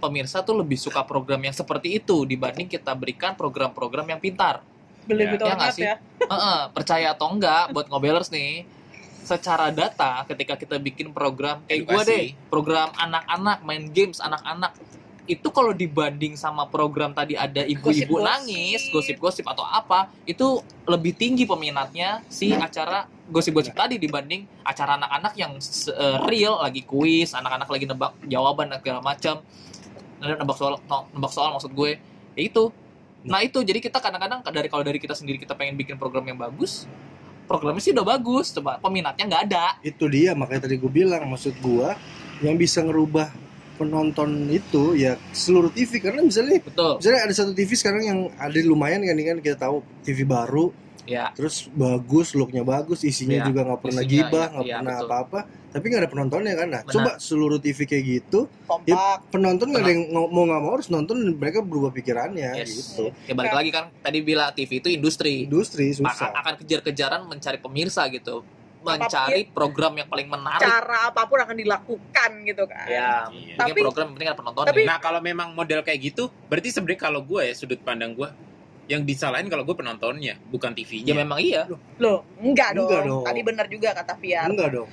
Speaker 3: pemirsa tuh lebih suka program yang seperti itu dibanding kita berikan program-program yang pintar.
Speaker 1: Beli
Speaker 4: Ya,
Speaker 1: gitu
Speaker 3: ya
Speaker 1: ya,
Speaker 3: nggak sih?
Speaker 1: ya.
Speaker 3: Heeh, percaya atau enggak buat ngobelers nih secara data ketika kita bikin program kayak gue
Speaker 4: Edukasi.
Speaker 3: deh program anak-anak main games anak-anak itu kalau dibanding sama program tadi ada ibu-ibu
Speaker 1: Gosip-gosip.
Speaker 3: nangis gosip-gosip atau apa itu lebih tinggi peminatnya si acara gosip-gosip tadi dibanding acara anak-anak yang se- eh, real lagi kuis anak-anak lagi nebak jawaban dan segala macam nebak soal no- nebak soal maksud gue ya itu Nah itu jadi kita kadang-kadang dari kalau dari kita sendiri kita pengen bikin program yang bagus, programnya sih udah bagus coba peminatnya nggak ada
Speaker 2: itu dia makanya tadi gue bilang maksud gua yang bisa ngerubah penonton itu ya seluruh TV karena misalnya
Speaker 3: betul
Speaker 2: misalnya ada satu TV sekarang yang ada lumayan kan ini kan kita tahu TV baru
Speaker 3: ya
Speaker 2: terus bagus looknya bagus isinya
Speaker 3: Iya,
Speaker 2: juga nggak pernah
Speaker 3: isinya,
Speaker 2: gibah
Speaker 3: iya,
Speaker 2: nggak
Speaker 3: iya,
Speaker 2: pernah
Speaker 3: betul.
Speaker 2: apa-apa tapi nggak ada penontonnya kan nah
Speaker 3: Benar.
Speaker 2: coba seluruh TV kayak gitu
Speaker 5: kompak
Speaker 2: penonton nggak ada yang ngo- mau nggak mau harus nonton dan mereka berubah pikirannya
Speaker 3: Yes. Iya.
Speaker 2: gitu
Speaker 3: ya balik lagi kan tadi bila TV itu industri
Speaker 2: industri
Speaker 3: akan,
Speaker 2: susah
Speaker 3: akan kejar-kejaran mencari pemirsa gitu mencari program yang paling menarik
Speaker 1: cara apapun akan dilakukan gitu kan
Speaker 3: ya pentingnya
Speaker 4: Iya.
Speaker 1: Tapi-
Speaker 3: program yang penting ada penonton ya.
Speaker 1: tapi-
Speaker 4: Nah kalau memang model kayak gitu, berarti sebenarnya kalau gue ya sudut pandang gue yang disalahin kalau gue penontonnya bukan
Speaker 3: ya
Speaker 4: TV-nya.
Speaker 3: memang iya
Speaker 1: loh
Speaker 2: Enggak
Speaker 1: enggak dong.
Speaker 2: dong.
Speaker 1: tadi benar juga kata Fiar
Speaker 2: enggak dong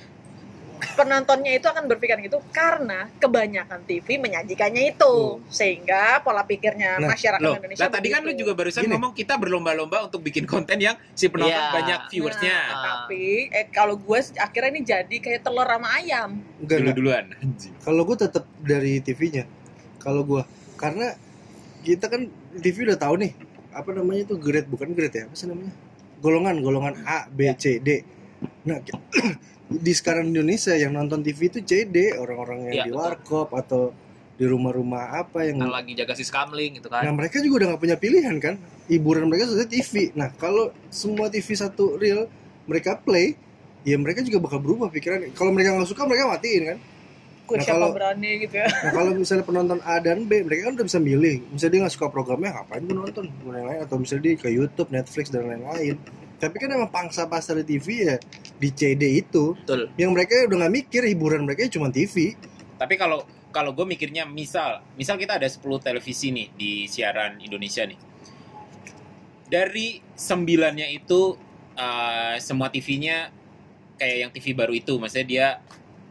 Speaker 1: penontonnya itu akan berpikiran gitu karena kebanyakan TV menyajikannya itu sehingga pola pikirnya
Speaker 2: Nah,
Speaker 1: masyarakat
Speaker 4: Loh,
Speaker 1: Indonesia
Speaker 4: lah tadi kan lu
Speaker 1: begitu.
Speaker 4: juga barusan
Speaker 2: Gini.
Speaker 4: ngomong kita berlomba-lomba untuk bikin konten yang si penonton
Speaker 3: Iya.
Speaker 4: banyak viewersnya.
Speaker 1: Nah, tapi eh, kalau gue sih akhirnya ini jadi kayak telur sama ayam
Speaker 2: enggak
Speaker 3: Iya.
Speaker 4: Dulu
Speaker 2: dong
Speaker 4: duluan. Anjing.
Speaker 2: kalau gue tetap dari TV-nya kalau gua karena kita kan TV udah tahu nih apa namanya itu grade bukan grade ya apa sih namanya golongan golongan A B C D nah di sekarang Indonesia yang nonton TV itu C D orang-orang yang
Speaker 3: Iya,
Speaker 2: di
Speaker 3: betul.
Speaker 2: warkop atau di rumah-rumah apa yang
Speaker 3: kan lagi jaga si skamling gitu
Speaker 2: Hmm. Nah
Speaker 3: kan
Speaker 2: mereka juga udah nggak punya pilihan kan Hiburan mereka sudah TV Nah kalau semua TV satu real Mereka play Ya mereka juga bakal berubah pikiran Kalau mereka nggak suka mereka matiin kan
Speaker 1: gue
Speaker 2: Nah,
Speaker 1: siapa
Speaker 2: kalau-
Speaker 1: berani gitu ya
Speaker 2: Nah kalau misalnya penonton A dan B Mereka kan udah bisa milih Misalnya dia nggak suka programnya Ngapain gue nonton Gua lain-lain. Atau misalnya dia ke Youtube, Netflix dan lain-lain Tapi kan emang pangsa pasar di TV ya Di CD itu
Speaker 3: betul
Speaker 2: Yang mereka udah nggak mikir Hiburan mereka cuma TV
Speaker 4: Tapi kalau kalau gue mikirnya misal, misal kita ada 10 televisi nih di siaran Indonesia nih. Dari sembilannya itu eh, semua TV-nya kayak yang TV baru itu, maksudnya dia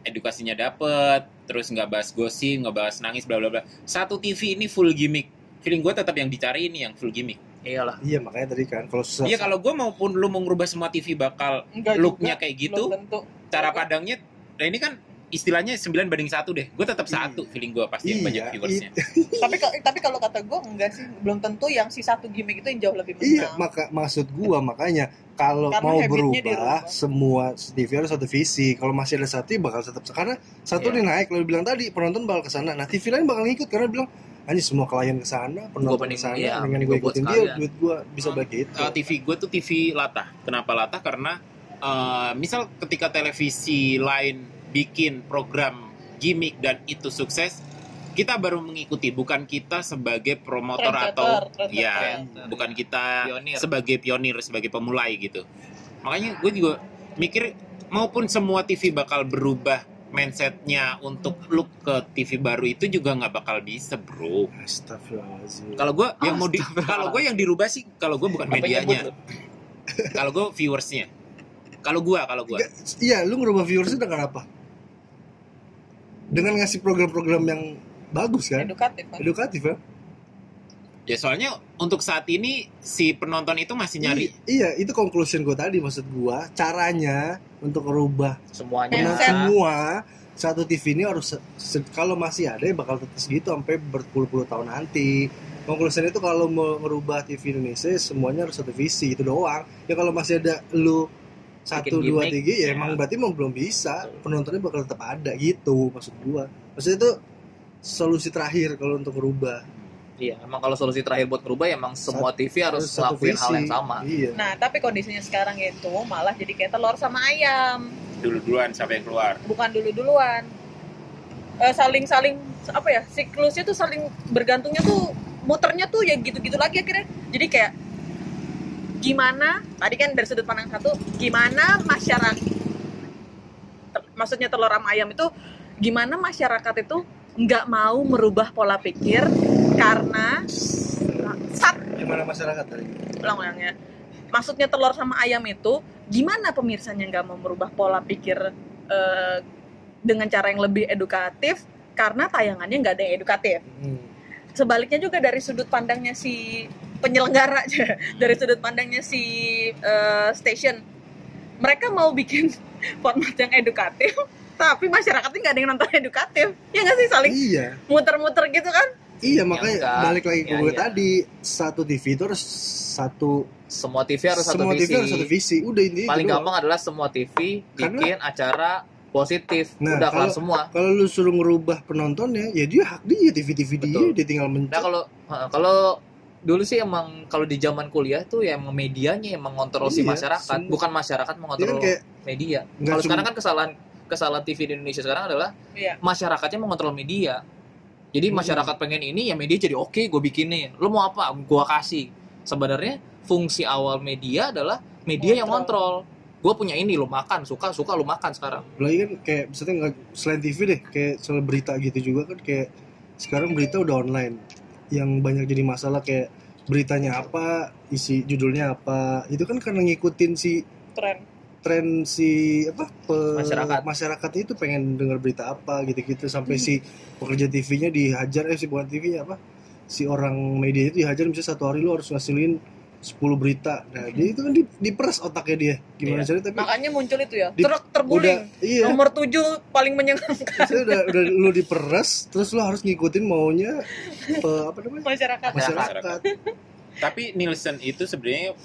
Speaker 4: edukasinya dapet, terus nggak bahas gosip, nggak bahas nangis, bla bla bla. Satu TV ini full gimmick. Feeling gue tetap yang dicari ini yang full gimmick.
Speaker 3: iyalah
Speaker 2: Iya makanya tadi kan Kalau susah
Speaker 4: Iya kalau gue maupun lu mau ngerubah semua TV bakal
Speaker 1: enggak
Speaker 2: Iya,
Speaker 4: looknya kayak gitu,
Speaker 1: belum tentu
Speaker 4: cara padangnya, nah ini kan istilahnya 9 banding satu deh. Gue tetap satu feeling gue pasti yang
Speaker 2: Iya,
Speaker 4: banyak viewersnya.
Speaker 1: tapi ka- tapi kalau kata gue enggak sih belum tentu yang si satu gimmick itu yang jauh lebih menang
Speaker 2: Iya, maka maksud gua makanya kalau
Speaker 1: Karena
Speaker 2: mau
Speaker 1: habitnya
Speaker 2: berubah
Speaker 1: dirubah.
Speaker 2: semua TV harus satu visi. Kalau masih ada satu ya bakal tetap karena satu
Speaker 3: Iya.
Speaker 2: nih naik lo bilang tadi penonton bakal ke sana. Nah, TV lain bakal ngikut karena bilang anjir semua klien ke sana, penonton ke
Speaker 3: mending-
Speaker 2: sana,
Speaker 3: iya,
Speaker 2: dengan
Speaker 3: mending
Speaker 2: gue
Speaker 3: gua buat
Speaker 2: ikutin dia
Speaker 3: sekalian. Hmm.
Speaker 2: duit gua bisa bagi itu.
Speaker 4: Eh, TV gue tuh TV latah. Kenapa latah? Karena eh, misal ketika televisi lain bikin program gimmick dan itu sukses, kita baru mengikuti. Bukan kita sebagai promotor atau
Speaker 1: Trendsetter,
Speaker 2: Nah,
Speaker 4: ya,
Speaker 3: trendsetter.
Speaker 4: bukan kita
Speaker 3: eh, pionir
Speaker 4: sebagai pionir, sebagai pemulai gitu. Makanya gue juga mikir maupun semua TV bakal berubah mindsetnya untuk look ke TV baru itu juga nggak bakal bisa bro.
Speaker 2: Astagfirullahaladzim.
Speaker 4: Kalau gue yang mau di, kalau gue yang dirubah sih kalau gue bukan
Speaker 3: ya
Speaker 4: medianya, kalau gue viewersnya. Kalau gue, kalau gue,
Speaker 2: Nggak, Iya, lu ngerubah viewers itu dengan apa? Dengan ngasih program-program yang bagus kan?
Speaker 1: edukatif
Speaker 3: Iya.
Speaker 1: kan
Speaker 2: Edukatif ya?
Speaker 4: ya soalnya untuk saat ini si penonton itu masih nyari.
Speaker 2: I- Iya, itu conclusion gua tadi maksud gua Caranya untuk ngerubah
Speaker 3: semuanya
Speaker 2: Karena
Speaker 1: Mindset.
Speaker 2: semua satu TV ini harus se- se- kalau masih ada ya bakal tetes gitu sampai berpuluh-puluh tahun nanti. Konklusinya itu kalau mau merubah TV Indonesia semuanya harus satu visi itu doang. Ya kalau masih ada lu satu
Speaker 3: Bikin
Speaker 2: dua
Speaker 3: gimmick,
Speaker 2: tiga ya
Speaker 3: ya.
Speaker 2: emang berarti emang belum bisa penontonnya bakal tetap ada gitu maksud gua. Maksudnya itu solusi terakhir kalau untuk merubah
Speaker 3: iya emang kalau solusi terakhir buat berubah emang semua TV harus ngelakuin hal yang sama
Speaker 2: Iya.
Speaker 1: nah tapi kondisinya sekarang itu malah jadi kayak telur sama ayam
Speaker 4: Dulu-duluan sampai yang keluar.
Speaker 1: bukan dulu duluan saling saling apa ya siklusnya tuh saling bergantungnya tuh muternya tuh ya gitu gitu lagi akhirnya jadi kayak gimana tadi kan dari sudut pandang satu gimana masyarakat ter- maksudnya telur sama ayam itu gimana masyarakat itu nggak mau merubah pola pikir karena sat
Speaker 2: Gimana masyarakat tadi?
Speaker 1: ulang ulang ya. Maksudnya telur sama ayam itu gimana pemirsanya nggak mau merubah pola pikir eh, dengan cara yang lebih edukatif karena tayangannya nggak ada yang edukatif.
Speaker 2: Hmm.
Speaker 1: Sebaliknya juga dari sudut pandangnya si penyelenggara aja, dari sudut pandangnya si eh, station, mereka mau bikin format yang edukatif tapi masyarakatnya nggak ada yang nonton edukatif ya nggak sih saling
Speaker 2: iya
Speaker 1: muter-muter gitu kan
Speaker 2: iya
Speaker 3: enggak.
Speaker 2: makanya balik lagi ke
Speaker 3: Ya,
Speaker 2: gue
Speaker 3: iya.
Speaker 2: tadi satu TV itu harus satu
Speaker 3: Semua TV harus satu
Speaker 2: semua TV
Speaker 3: visi.
Speaker 2: harus satu visi udah gitu. ini
Speaker 3: Paling gampang adalah semua TV
Speaker 2: Karena-
Speaker 3: bikin acara positif.
Speaker 2: Nah,
Speaker 3: Udah kelar
Speaker 2: kalau-
Speaker 3: semua.
Speaker 2: kalau lu suruh ngerubah penontonnya ya dia hak dia TV TV dia
Speaker 3: Betul.
Speaker 2: dia tinggal
Speaker 3: Nah
Speaker 2: mencet
Speaker 3: kalau eh, kalau dulu sih emang kalau di zaman kuliah tuh ya emang medianya yang mengontrol si
Speaker 2: Iya,
Speaker 3: masyarakat,
Speaker 2: semua.
Speaker 3: bukan masyarakat
Speaker 2: dia kan
Speaker 3: mengontrol
Speaker 2: kayak
Speaker 3: media.
Speaker 2: nggak
Speaker 3: Kalau
Speaker 2: cuma-
Speaker 3: sekarang kan kesalahan kesalahan TV di Indonesia sekarang adalah
Speaker 1: Iya.
Speaker 3: masyarakatnya mengontrol media. Jadi
Speaker 2: Hmm.
Speaker 3: masyarakat pengen ini ya media jadi oke, gue bikinin. Lo mau apa? Gua kasih. Sebenarnya fungsi awal media adalah media yang
Speaker 1: Ngontrol.
Speaker 3: ngontrol. Gue punya ini, lo makan, suka suka lo makan sekarang.
Speaker 2: lagi kan kayak misalnya nggak selain TV deh kayak soal berita gitu juga kan kayak sekarang berita udah online yang banyak jadi masalah kayak beritanya apa isi judulnya apa itu kan karena ngikutin si
Speaker 1: tren
Speaker 2: tren si apa pe-
Speaker 3: Masyarakat.
Speaker 2: masyarakat itu pengen dengar berita apa gitu-gitu
Speaker 1: Hmm.
Speaker 2: sampai si pekerja TV-nya dihajar eh si bukan TV-nya apa si orang media itu dihajar misalnya satu hari lu harus ngasilin 10 berita nah dia itu kan di, diperas otaknya dia gimana
Speaker 3: Iya.
Speaker 2: caranya tapi
Speaker 1: Hmm. makanya muncul itu ya
Speaker 2: Di-
Speaker 1: truk terguling
Speaker 2: iya
Speaker 1: nomor tujuh paling menyenangkan
Speaker 2: Maksudnya udah, udah lu diperes terus lu harus ngikutin maunya eh, apa namanya
Speaker 1: masyarakat
Speaker 2: masyarakat
Speaker 4: Tapi Nielsen itu sebenarnya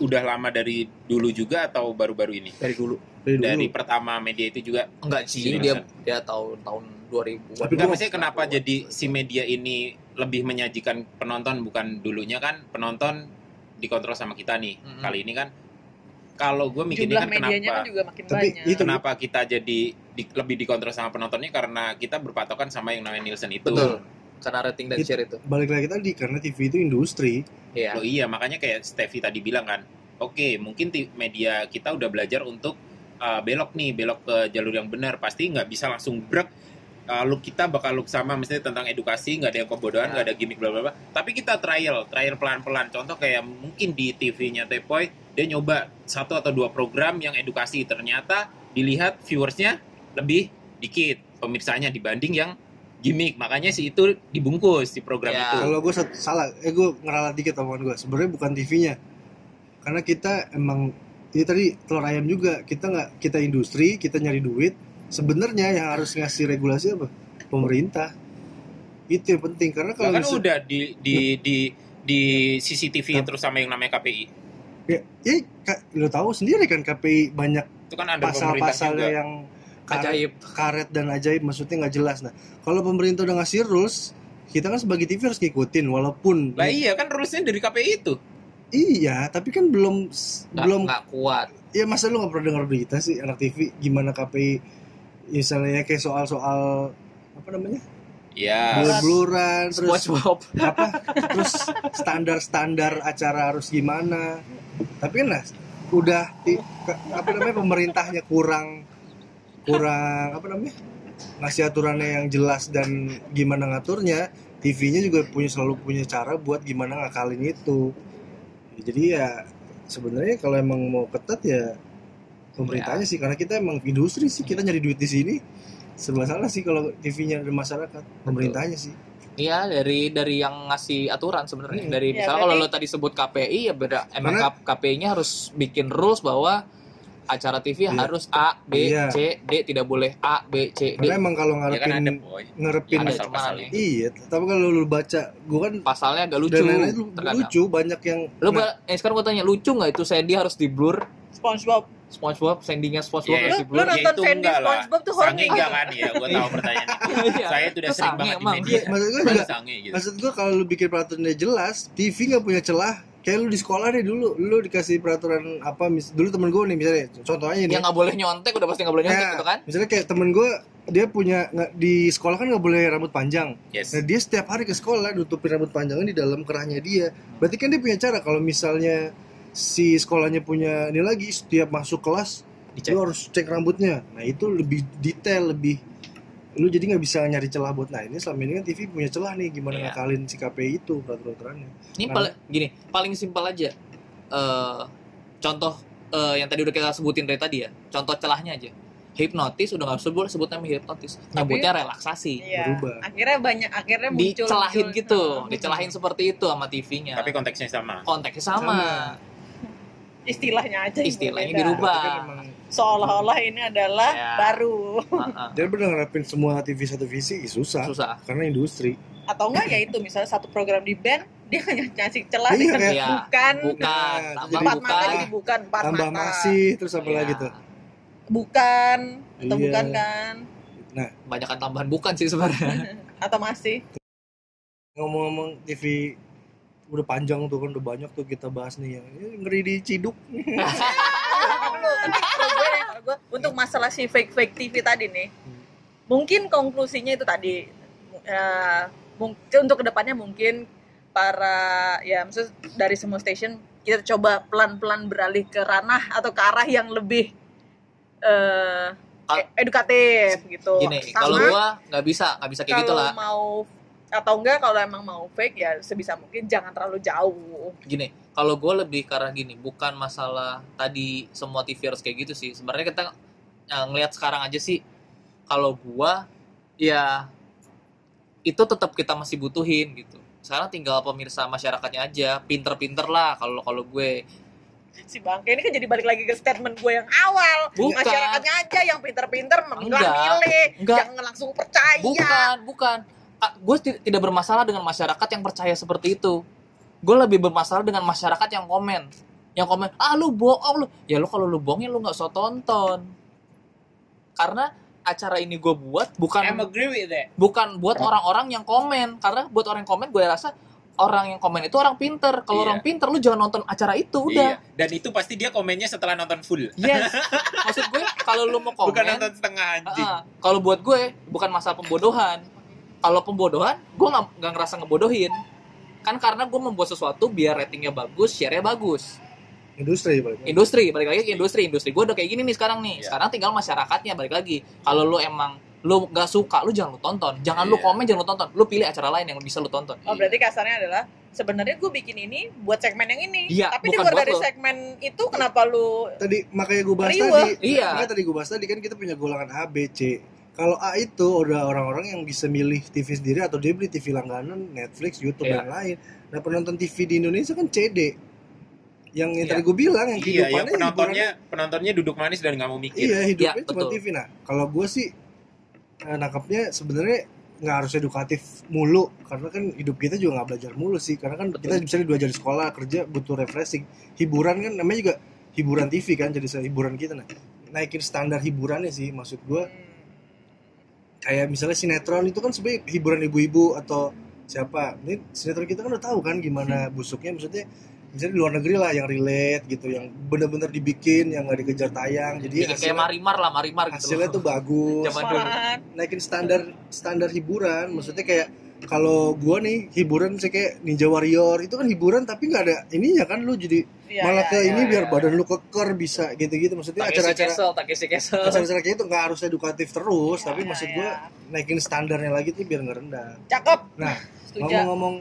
Speaker 4: udah lama dari dulu juga atau baru-baru ini?
Speaker 3: Dari dulu.
Speaker 2: dari dulu
Speaker 4: Dari pertama media itu juga.
Speaker 3: Enggak sih,
Speaker 4: Seriusan?
Speaker 3: dia dia tahun tahun 2000.
Speaker 2: Iya, Tapi
Speaker 4: Enggak
Speaker 2: gua-
Speaker 4: maksudnya kenapa jadi si media ini lebih menyajikan penonton bukan dulunya kan penonton dikontrol sama kita nih.
Speaker 3: Mm-mm.
Speaker 4: Kali ini kan kalau gue mikirnya
Speaker 1: jumlah
Speaker 4: kan
Speaker 1: medianya
Speaker 4: kenapa
Speaker 1: kan juga makin
Speaker 2: Tapi
Speaker 1: banyak
Speaker 2: itu-
Speaker 4: kenapa
Speaker 3: Gitu.
Speaker 4: kita jadi di- lebih dikontrol sama penontonnya karena kita berpatokan sama yang namanya Nielsen itu.
Speaker 3: Betul. Karena rating dan
Speaker 2: Itu-
Speaker 3: share itu.
Speaker 2: balik lagi tadi karena TV itu industri
Speaker 3: Iya.
Speaker 4: Loh iya, makanya kayak Steffi tadi bilang kan, oke mungkin ti- media kita udah belajar untuk uh, belok nih, belok ke jalur yang benar. Pasti nggak bisa langsung brek, uh, look kita bakal look sama, misalnya tentang edukasi, nggak ada yang kebodohan,
Speaker 3: Ya.
Speaker 4: nggak ada gimmick, bla bla bla. Tapi kita trial, trial pelan-pelan. Contoh kayak mungkin di TV-nya Tepoy, dia nyoba satu atau dua program yang edukasi. Ternyata dilihat viewersnya lebih dikit pemirsanya dibanding yang gimmick. Makanya si itu dibungkus si program
Speaker 3: Ya.
Speaker 4: itu.
Speaker 2: kalau gue salah eh gue ngeralat dikit omongan gue sebenarnya bukan TV-nya karena kita emang ya tadi telur ayam juga kita nggak kita industri kita nyari duit sebenarnya yang harus ngasih regulasi apa pemerintah itu yang penting karena
Speaker 4: Lah
Speaker 2: kalau
Speaker 4: kan
Speaker 2: misal-
Speaker 4: udah di di di di CCTV
Speaker 2: Nah.
Speaker 4: terus sama yang namanya KPI.
Speaker 2: ya, ya, Kak, lo tahu sendiri kan KPI banyak
Speaker 4: Itu kan ada pemerintah
Speaker 2: pasal-pasalnya
Speaker 4: juga.
Speaker 2: yang karet-
Speaker 3: Ajaib.
Speaker 2: karet dan ajaib maksudnya nggak jelas nah kalau pemerintah udah ngasih rules kita kan sebagai TV harus ngikutin walaupun
Speaker 4: Lah iya kan rulesnya dari KPI itu.
Speaker 2: iya tapi kan belum
Speaker 4: Nah,
Speaker 3: Nggak,
Speaker 2: belum
Speaker 3: nggak kuat.
Speaker 2: ya masa lu nggak pernah dengar berita sih anak TV gimana KPI ya, misalnya kayak soal-soal apa namanya
Speaker 4: Ya.
Speaker 2: blur-bluran terus
Speaker 3: SpongeBob.
Speaker 2: apa terus standar-standar acara harus gimana tapi kan lah udah i- ke- apa namanya pemerintahnya kurang kurang apa namanya ngasih aturannya yang jelas dan gimana ngaturnya TV-nya juga punya selalu punya cara buat gimana ngakalin itu Ya, jadi ya sebenarnya kalau emang mau ketat ya
Speaker 4: Ya.
Speaker 2: pemerintahnya sih karena kita emang industri sih kita nyari duit di sini serba salah sih kalau TV-nya ada masyarakat pemerintahnya sih
Speaker 3: Iya dari dari yang ngasih aturan sebenarnya
Speaker 2: Hmm.
Speaker 3: dari
Speaker 1: Ya,
Speaker 3: misalnya kalau
Speaker 1: berarti-
Speaker 3: lo tadi sebut KPI ya beda emang
Speaker 2: Karena-
Speaker 3: KPI-nya harus bikin rules bahwa acara TV
Speaker 2: Iya.
Speaker 3: harus A B
Speaker 2: Iya.
Speaker 3: C D tidak boleh A B C D
Speaker 2: karena emang kalau
Speaker 4: Ya
Speaker 2: ngarepin
Speaker 4: kan ada boy.
Speaker 2: ngerepin
Speaker 3: ada
Speaker 4: pasal-
Speaker 3: cuman
Speaker 4: pasal
Speaker 3: aneh.
Speaker 2: iya tapi kalau lu baca gua kan
Speaker 3: pasalnya agak lucu
Speaker 2: dan lain-lain lu-
Speaker 3: terkadang
Speaker 2: lucu banyak yang
Speaker 3: lo
Speaker 2: nah,
Speaker 3: ba- eh, sekarang gue tanya lucu nggak itu Sandy harus di blur
Speaker 1: SpongeBob
Speaker 3: SpongeBob Sandy-nya SpongeBob
Speaker 4: Iya,
Speaker 1: lu,
Speaker 3: harus di
Speaker 1: lu
Speaker 3: blur
Speaker 4: Ya,
Speaker 1: nonton
Speaker 4: itu
Speaker 1: Sandy
Speaker 4: enggak lah.
Speaker 1: SpongeBob tuh
Speaker 4: Sange
Speaker 1: horny
Speaker 4: enggak kan ya, gua tahu pertanyaan itu.
Speaker 3: Iya.
Speaker 4: Saya itu udah
Speaker 3: Itu
Speaker 4: sering
Speaker 3: sange
Speaker 4: banget di
Speaker 3: emang.
Speaker 4: media.
Speaker 2: iya, maksud gua
Speaker 4: Baru
Speaker 2: juga
Speaker 4: sange gitu.
Speaker 2: maksud gua kalau lu bikin peraturannya jelas TV nggak punya celah kayak lu di sekolah deh dulu lu dikasih peraturan apa mis dulu temen gua nih misalnya contohnya nih
Speaker 3: yang nggak boleh nyontek udah pasti nggak boleh nyontek
Speaker 2: Nah,
Speaker 3: gitu kan
Speaker 2: misalnya kayak temen gua dia punya nggak- di sekolah kan nggak boleh rambut panjang
Speaker 4: Yes.
Speaker 2: Nah dia setiap hari ke sekolah nutupin rambut panjangnya di dalam kerahnya dia. Berarti kan dia punya cara kalau misalnya si sekolahnya punya ini lagi setiap masuk kelas
Speaker 3: Dicek.
Speaker 2: lu harus cek rambutnya. Nah itu lebih detail lebih lu jadi nggak bisa nyari celah buat nah ini selama ini kan TV punya celah nih gimana
Speaker 3: Iya.
Speaker 2: ngakalin si KPI itu peraturan-peraturannya. Nah.
Speaker 3: Ini pal- gini, paling simpel aja. Eh, contoh eh, yang tadi udah kita sebutin dari tadi ya. Contoh celahnya aja. Hipnotis udah nggak sebut sebut nama hipnotis. Nyebutnya relaksasi.
Speaker 1: Iya.
Speaker 2: Berubah.
Speaker 1: akhirnya banyak akhirnya muncul
Speaker 3: Dicelahin
Speaker 1: muncul.
Speaker 3: gitu,
Speaker 1: Nah,
Speaker 3: dicelahin seperti itu sama TV-nya.
Speaker 4: Tapi konteksnya sama.
Speaker 3: konteksnya sama.
Speaker 2: Sama.
Speaker 1: istilahnya aja yang
Speaker 3: Istilahnya
Speaker 1: berbeda.
Speaker 3: dirubah.
Speaker 2: Berarti kan emang
Speaker 1: seolah-olah ini adalah
Speaker 3: Ya.
Speaker 1: baru
Speaker 3: Ah, ah.
Speaker 2: dia bener ngerapin semua TV satu visi ih, susah.
Speaker 3: susah
Speaker 1: Nah,
Speaker 2: karena industri.
Speaker 1: atau enggak ya itu misalnya satu program di band dia hanya ngasih celah
Speaker 2: Iya,
Speaker 1: dengan
Speaker 3: iya.
Speaker 1: bukan
Speaker 3: bukan
Speaker 2: Nah,
Speaker 3: tambah
Speaker 2: jadi
Speaker 1: empat mata
Speaker 3: bukan
Speaker 1: jadi bukan empat
Speaker 2: Tambah
Speaker 1: mata
Speaker 2: masih terus apa lagi tuh?
Speaker 1: bukan atau
Speaker 2: Iya.
Speaker 1: bukan kan
Speaker 2: Nah,
Speaker 3: banyakkan tambahan bukan sih sebenarnya
Speaker 1: atau masih
Speaker 2: ngomong-ngomong TV udah panjang tuh kan udah banyak tuh kita bahas nih yang eh, ngeri diciduk.
Speaker 1: Dulu, tapi kalau gue ya, kalau gue, untuk masalah si fake fake TV tadi nih
Speaker 2: Hmm.
Speaker 1: mungkin konklusinya itu tadi eh, mungkin untuk kedepannya mungkin para ya maksud dari semua station kita coba pelan-pelan beralih ke ranah atau ke arah yang lebih eh,
Speaker 3: Kal-
Speaker 1: edukatif gitu
Speaker 3: gini kalau gua nggak bisa nggak bisa kayak gitu
Speaker 1: kalau
Speaker 3: gitulah
Speaker 1: mau atau enggak kalau emang mau fake ya sebisa mungkin jangan terlalu jauh
Speaker 3: gini kalau gue lebih ke arah gini bukan masalah tadi semua TV harus kayak gitu sih sebenarnya kita eh, ngelihat sekarang aja sih kalau gue ya itu tetap kita masih butuhin gitu sekarang tinggal pemirsa masyarakatnya aja pinter-pinter lah kalau kalau gue
Speaker 1: si bangke ini kan jadi balik lagi ke statement gue yang awal
Speaker 3: Bukan.
Speaker 1: masyarakatnya aja yang pinter-pinter memilah-milih
Speaker 3: enggak enggak
Speaker 1: jangan langsung
Speaker 4: Iya.
Speaker 1: percaya
Speaker 3: bukan bukan gue tidak bermasalah dengan masyarakat yang percaya seperti itu gue lebih bermasalah dengan masyarakat yang komen yang komen ah lu bohong lu ya lu kalau lu bohong ya lu nggak usah tonton karena acara ini gue buat bukan
Speaker 5: I'm agree with that.
Speaker 3: bukan buat orang-orang yang komen karena buat orang yang komen gue rasa orang yang komen itu orang pinter kalau
Speaker 4: Iya.
Speaker 3: orang pinter lu jangan nonton acara itu
Speaker 4: Iya.
Speaker 3: udah
Speaker 4: Dan itu pasti dia komennya setelah nonton full.
Speaker 3: yes maksud gue kalau lu mau komen
Speaker 4: Bukan nonton setengah anjing.
Speaker 3: Ah, kalau buat gue bukan masalah pembodohan kalau pembodohan gue nggak nggak ngerasa ngebodohin kan karena gue membuat sesuatu biar ratingnya bagus share-nya bagus
Speaker 2: Industri balik. lagi.
Speaker 3: industri balik lagi ke industri industri gue udah kayak gini nih sekarang nih
Speaker 4: Iya.
Speaker 3: sekarang tinggal masyarakatnya balik lagi kalau lu emang lu nggak suka lu jangan lu tonton jangan lu
Speaker 4: Iya.
Speaker 3: komen jangan lu tonton lu pilih acara lain yang bisa lu tonton
Speaker 1: oh berarti kasarnya adalah sebenarnya gue bikin ini buat segmen yang ini
Speaker 3: Iya,
Speaker 1: tapi di
Speaker 3: bukan
Speaker 1: luar
Speaker 3: buat
Speaker 1: dari
Speaker 3: lo.
Speaker 1: segmen itu kenapa lu
Speaker 2: Tadi makanya gue bahas
Speaker 1: Riweh.
Speaker 2: tadi.
Speaker 3: Iya.
Speaker 2: Makanya tadi gue bahas tadi kan kita punya golongan A, B, C. Kalau A itu udah orang-orang yang bisa milih TV sendiri atau dia beli TV langganan, Netflix, YouTube
Speaker 3: Iya.
Speaker 2: dan lain. Nah penonton TV di Indonesia kan CD. Yang, yang
Speaker 3: Iya.
Speaker 2: tadi gue bilang yang
Speaker 4: Iya,
Speaker 2: kehidupannya
Speaker 4: yang penontonnya penontonnya duduk manis dan nggak mau
Speaker 2: hiburan-
Speaker 4: mikir.
Speaker 2: iya hidupnya
Speaker 3: Iya,
Speaker 2: cuma
Speaker 3: betul.
Speaker 2: TV. Nah kalau gue sih eh, nangkapnya sebenarnya nggak harus edukatif mulu karena kan hidup kita juga nggak belajar mulu sih karena kan
Speaker 3: Betul.
Speaker 2: kita misalnya dua jam di sekolah kerja butuh refreshing hiburan kan namanya juga hiburan TV kan jadi se- hiburan kita nah naikin standar hiburannya sih maksud gue kayak misalnya sinetron itu kan sebenarnya hiburan ibu-ibu atau siapa ini sinetron kita kan udah tahu kan gimana
Speaker 3: Hmm.
Speaker 2: busuknya maksudnya misalnya di luar negeri lah yang relate gitu yang bener-bener dibikin yang nggak dikejar tayang jadi
Speaker 3: Bikin kayak
Speaker 2: hasilnya,
Speaker 3: marimar lah marimar gitu
Speaker 2: hasilnya tuh bagus
Speaker 3: Zaman dulu.
Speaker 1: Apaan?
Speaker 2: naikin standar standar hiburan maksudnya kayak kalau gua nih hiburan misalnya kayak Ninja Warrior itu kan hiburan tapi nggak ada ininya kan lu jadi
Speaker 1: Iya,
Speaker 2: malah
Speaker 1: iya,
Speaker 2: ke
Speaker 1: iya,
Speaker 2: ini
Speaker 1: iya.
Speaker 2: biar badan lu keker bisa gitu-gitu maksudnya
Speaker 3: Takeshi
Speaker 2: acara-acara
Speaker 3: Castle Takeshi Castle
Speaker 2: acara-acara kayak itu nggak harus edukatif terus tapi
Speaker 1: Iya,
Speaker 2: maksud
Speaker 1: iya.
Speaker 2: gua naikin standarnya lagi tuh biar nggak rendah
Speaker 1: cakep
Speaker 2: Nah,
Speaker 1: setuju
Speaker 2: ngomong-ngomong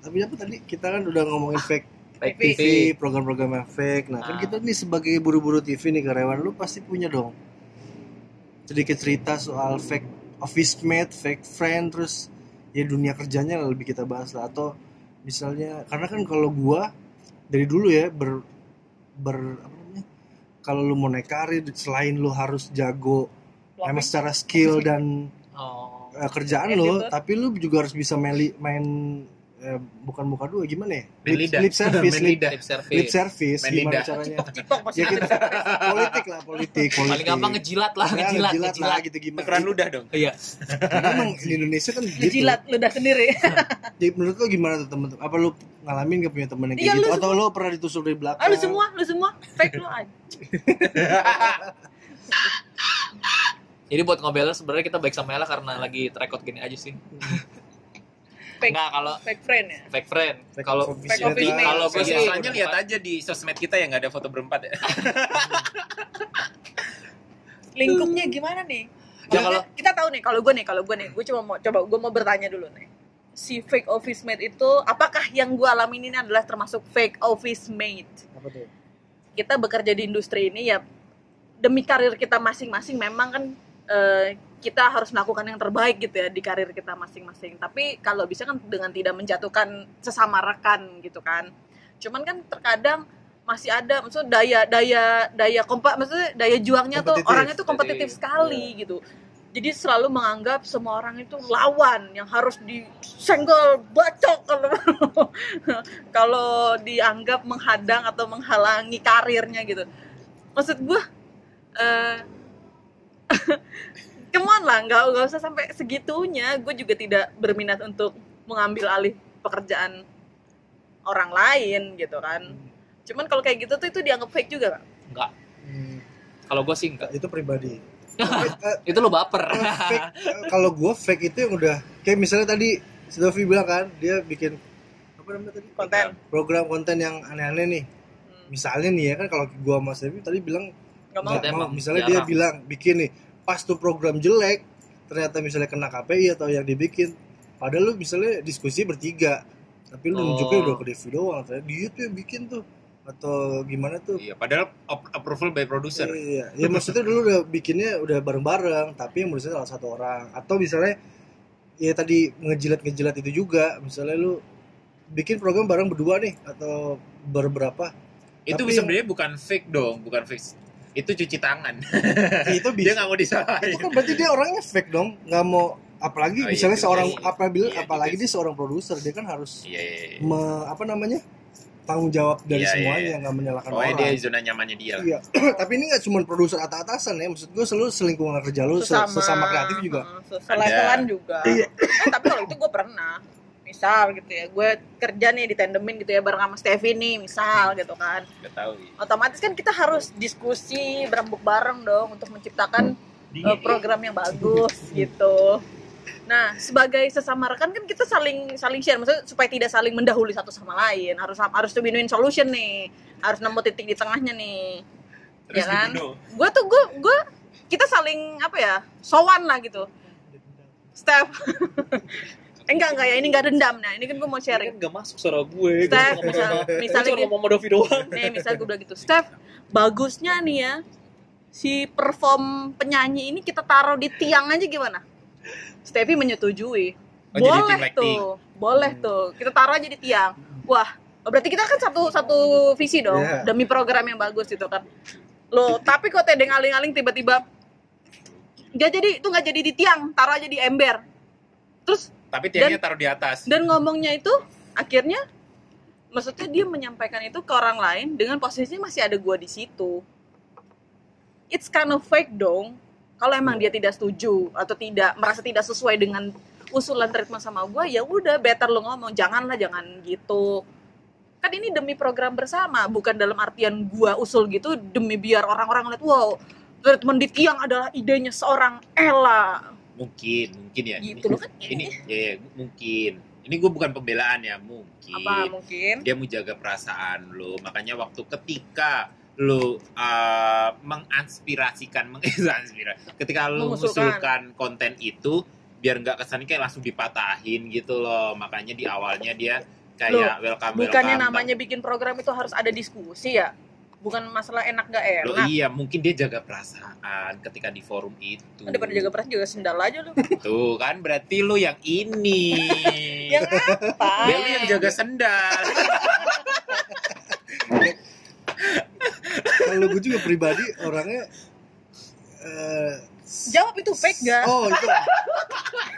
Speaker 2: tapi apa tadi kita kan udah
Speaker 1: Ah.
Speaker 2: ngomongin fake
Speaker 3: Baik
Speaker 1: TV.
Speaker 3: TV
Speaker 2: TV program-program yang fake nah kan
Speaker 3: Ah.
Speaker 2: kita nih sebagai buru-buru TV nih karyawan lu pasti punya dong sedikit cerita soal fake office mate fake friend terus ya dunia kerjanya lah lebih kita bahas lah atau misalnya karena kan kalau gua dari dulu ya ber ber apa namanya kalau lu mau naik karir selain lu harus jago emang secara skill dan
Speaker 3: oh
Speaker 2: eh, kerjaan
Speaker 1: Ya,
Speaker 2: lo,
Speaker 1: gitu.
Speaker 2: tapi lu juga harus bisa meli- main eh, bukan muka dua gimana ya?
Speaker 4: Main
Speaker 2: Lip,
Speaker 4: lidah.
Speaker 2: lip service,
Speaker 4: Main
Speaker 2: lip,
Speaker 4: lidah.
Speaker 3: lip service
Speaker 2: lip service
Speaker 4: Main
Speaker 2: gimana
Speaker 4: lidah.
Speaker 2: caranya?
Speaker 1: cipok
Speaker 2: ya kita politik lah, politik, politik.
Speaker 3: paling gampang ngejilat lah
Speaker 2: Ya,
Speaker 3: ngejilat
Speaker 2: ngejilat lah
Speaker 3: ngejilat
Speaker 2: gitu gimana?
Speaker 4: Tukeran ludah dong.
Speaker 3: iya
Speaker 2: Karena Emang di Indonesia kan gitu.
Speaker 1: ngejilat ludah sendiri
Speaker 2: Jadi menurut lo gimana tuh temen-temen? Apa lu ngalamin gak punya temen yang
Speaker 1: Iya,
Speaker 2: kayak gitu?
Speaker 1: lu
Speaker 2: Atau lo pernah ditusuk dari belakang?
Speaker 1: ah lu semua lu semua fake lu aja
Speaker 3: Jadi buat ngobelnya sebenarnya kita baik sama Ella karena lagi terekot gini aja sih.
Speaker 1: Fake.
Speaker 3: Nggak kalau
Speaker 1: fake friend ya
Speaker 3: fake friend.
Speaker 2: Fake
Speaker 3: Kalau
Speaker 2: office
Speaker 1: fake
Speaker 2: mate
Speaker 1: office
Speaker 2: lah.
Speaker 1: mate.
Speaker 3: Kalau gua sih-
Speaker 4: Biasanya lihat aja di sosmed kita yang nggak ada foto berempat ya.
Speaker 1: lingkupnya gimana nih Maksudnya,
Speaker 3: Ya, kalau-
Speaker 1: kita tahu nih kalau gue nih kalau gue nih gue cuma mau coba gue mau bertanya dulu nih si fake office mate itu apakah yang gue alamin ini adalah termasuk fake office mate
Speaker 2: Apa tuh?
Speaker 1: kita bekerja di industri ini ya demi karir kita masing-masing memang kan eh, kita harus melakukan yang terbaik gitu ya di karir kita masing-masing. Tapi kalau bisa kan dengan tidak menjatuhkan sesama rekan gitu kan. Cuman kan terkadang masih ada maksudnya daya daya daya kompa maksudnya daya juangnya tuh
Speaker 2: Kompetitif.
Speaker 1: orangnya tuh Nah, kompetitif
Speaker 4: Jadi,
Speaker 1: sekali gitu jadi selalu menganggap semua orang itu lawan yang harus disenggol bacok kalau kalau dianggap menghadang atau menghalangi karirnya gitu maksud gue eh come on lah nggak nggak usah sampai segitunya gue juga tidak berminat untuk mengambil alih pekerjaan orang lain gitu kan cuman kalau kayak gitu tuh itu dianggap fake juga kan
Speaker 3: Hmm, kalau gue sih enggak
Speaker 2: itu pribadi Tapi, eh,
Speaker 3: itu lo baper
Speaker 2: eh, fake, eh, kalau gue fake itu yang udah kayak misalnya tadi Dovi bilang kan dia bikin apa namanya tadi
Speaker 1: konten
Speaker 2: program konten yang aneh-aneh nih
Speaker 1: Hmm,
Speaker 2: misalnya nih ya kan kalau gua sama Sevi tadi bilang
Speaker 1: nggak mau
Speaker 2: nggak
Speaker 3: Emang
Speaker 2: mau misalnya dia
Speaker 3: jarang.
Speaker 2: bilang bikin nih pas tuh program jelek ternyata misalnya kena KPI atau yang dibikin padahal lu misalnya diskusi bertiga tapi lu
Speaker 3: Oh.
Speaker 2: nunjuknya udah ke Devi doang ternyata dia tuh yang bikin tuh atau gimana tuh
Speaker 4: Iya, padahal op- approval by producer.
Speaker 2: Iya, ya maksudnya dulu udah bikinnya udah bareng-bareng, tapi yang berusaha salah satu orang. Atau misalnya ya tadi ngejilat-ngejilat itu juga, misalnya lu bikin program bareng berdua nih atau berberapa.
Speaker 4: itu
Speaker 2: Tapi-
Speaker 4: sebenarnya bukan fake dong, bukan fake. Itu cuci tangan.
Speaker 2: Ya, itu
Speaker 4: Dia
Speaker 2: bisa.
Speaker 4: nggak mau
Speaker 2: itu
Speaker 4: disalahin.
Speaker 2: kan berarti dia orangnya fake dong, nggak mau apalagi
Speaker 4: Oh, iya
Speaker 2: misalnya
Speaker 4: juga
Speaker 2: seorang
Speaker 4: sih.
Speaker 2: apabila
Speaker 4: Iya juga
Speaker 2: apalagi
Speaker 4: sih.
Speaker 2: dia seorang produser, dia kan harus
Speaker 4: Iya, iya, iya.
Speaker 2: me- apa namanya? tanggung jawab dari
Speaker 4: Iya, iya,
Speaker 2: semuanya
Speaker 4: iya.
Speaker 2: nggak menyalahkan
Speaker 4: Pokoknya
Speaker 2: orang.
Speaker 4: dia zona nyamannya dia. lah.
Speaker 2: Iya, tapi ini nggak cuma produser atas-atasan ya, maksud gue selalu selingkungan kerja lu se- sesama kreatif juga.
Speaker 1: hmm, se- selevelan juga
Speaker 2: Iya.
Speaker 1: Eh, tapi kalau itu gue pernah misal gitu ya gue kerja nih ditendemin gitu ya bareng sama Stevie nih misal gitu kan
Speaker 4: Nggak tahu. iya.
Speaker 1: otomatis kan kita harus diskusi berembuk bareng dong untuk menciptakan
Speaker 4: Iya,
Speaker 1: eh, program yang bagus gitu nah sebagai sesama rekan kan kita saling saling share maksudnya supaya tidak saling mendahului satu sama lain harus harus to win-win solution nih harus nemu titik di tengahnya nih
Speaker 4: Terus
Speaker 1: ya kan?
Speaker 4: dibunuh.
Speaker 1: gue tuh gue gue kita saling apa ya sowan lah gitu Steph Eh, enggak enggak ya ini enggak dendam nah ini kan gue mau sharing
Speaker 3: Enggak masuk suara gue. Gue
Speaker 1: Steph
Speaker 3: cuma
Speaker 1: misal
Speaker 3: ngomong- gue
Speaker 1: misalnya
Speaker 3: cuma
Speaker 1: dia,
Speaker 3: ngomong sama Dovi doang.
Speaker 1: nih misal gue bilang gitu Steph bagusnya nih ya si perform penyanyi ini kita taruh di tiang aja gimana Stevie menyetujui
Speaker 4: Oh, jadi
Speaker 1: boleh
Speaker 4: tim Hmm. lighting.
Speaker 1: tuh boleh tuh kita taruh aja di tiang wah berarti kita kan satu satu visi dong
Speaker 2: Iya.
Speaker 1: demi program yang bagus gitu kan loh tapi kok tedeng aling-aling tiba-tiba nggak jadi itu nggak jadi di tiang taruh aja di ember terus
Speaker 4: Tapi tiangnya taruh di atas.
Speaker 1: dan ngomongnya itu akhirnya maksudnya dia menyampaikan itu ke orang lain dengan posisinya masih ada gua di situ it's kind of fake dong kalau emang dia tidak setuju atau tidak merasa tidak sesuai dengan usulan treatment sama gua ya udah better lo ngomong janganlah jangan gitu kan ini demi program bersama bukan dalam artian gua usul gitu demi biar orang-orang lihat wow treatment di tiang adalah idenya seorang Ella
Speaker 4: Mungkin, mungkin ya.
Speaker 1: gitu loh kan
Speaker 4: Ini, ya, ya, mungkin. Ini gue bukan pembelaan ya, mungkin.
Speaker 1: apa mungkin
Speaker 4: Dia mau jaga perasaan lo. Makanya waktu ketika lo uh, menginspirasikan, menginspirasi, ketika
Speaker 1: Mengusulkan.
Speaker 4: lo mengusulkan konten itu, biar nggak kesannya kayak langsung dipatahin gitu loh. Makanya di awalnya dia kayak welcome
Speaker 1: Bukannya
Speaker 4: welcome,
Speaker 1: namanya bikin program itu harus ada diskusi ya? Bukan masalah enak gak
Speaker 4: Loh,
Speaker 1: enak.
Speaker 4: iya, mungkin dia jaga perasaan ketika di forum itu.
Speaker 1: Ada pada Kan jaga peras juga sendal aja lu.
Speaker 4: Tuh kan berarti lu yang ini.
Speaker 1: yang Ya apa?
Speaker 4: Dia lu yang jaga sendal.
Speaker 2: kalau gue juga pribadi orangnya eh, s-
Speaker 1: Jawab itu fake gak?
Speaker 2: oh itu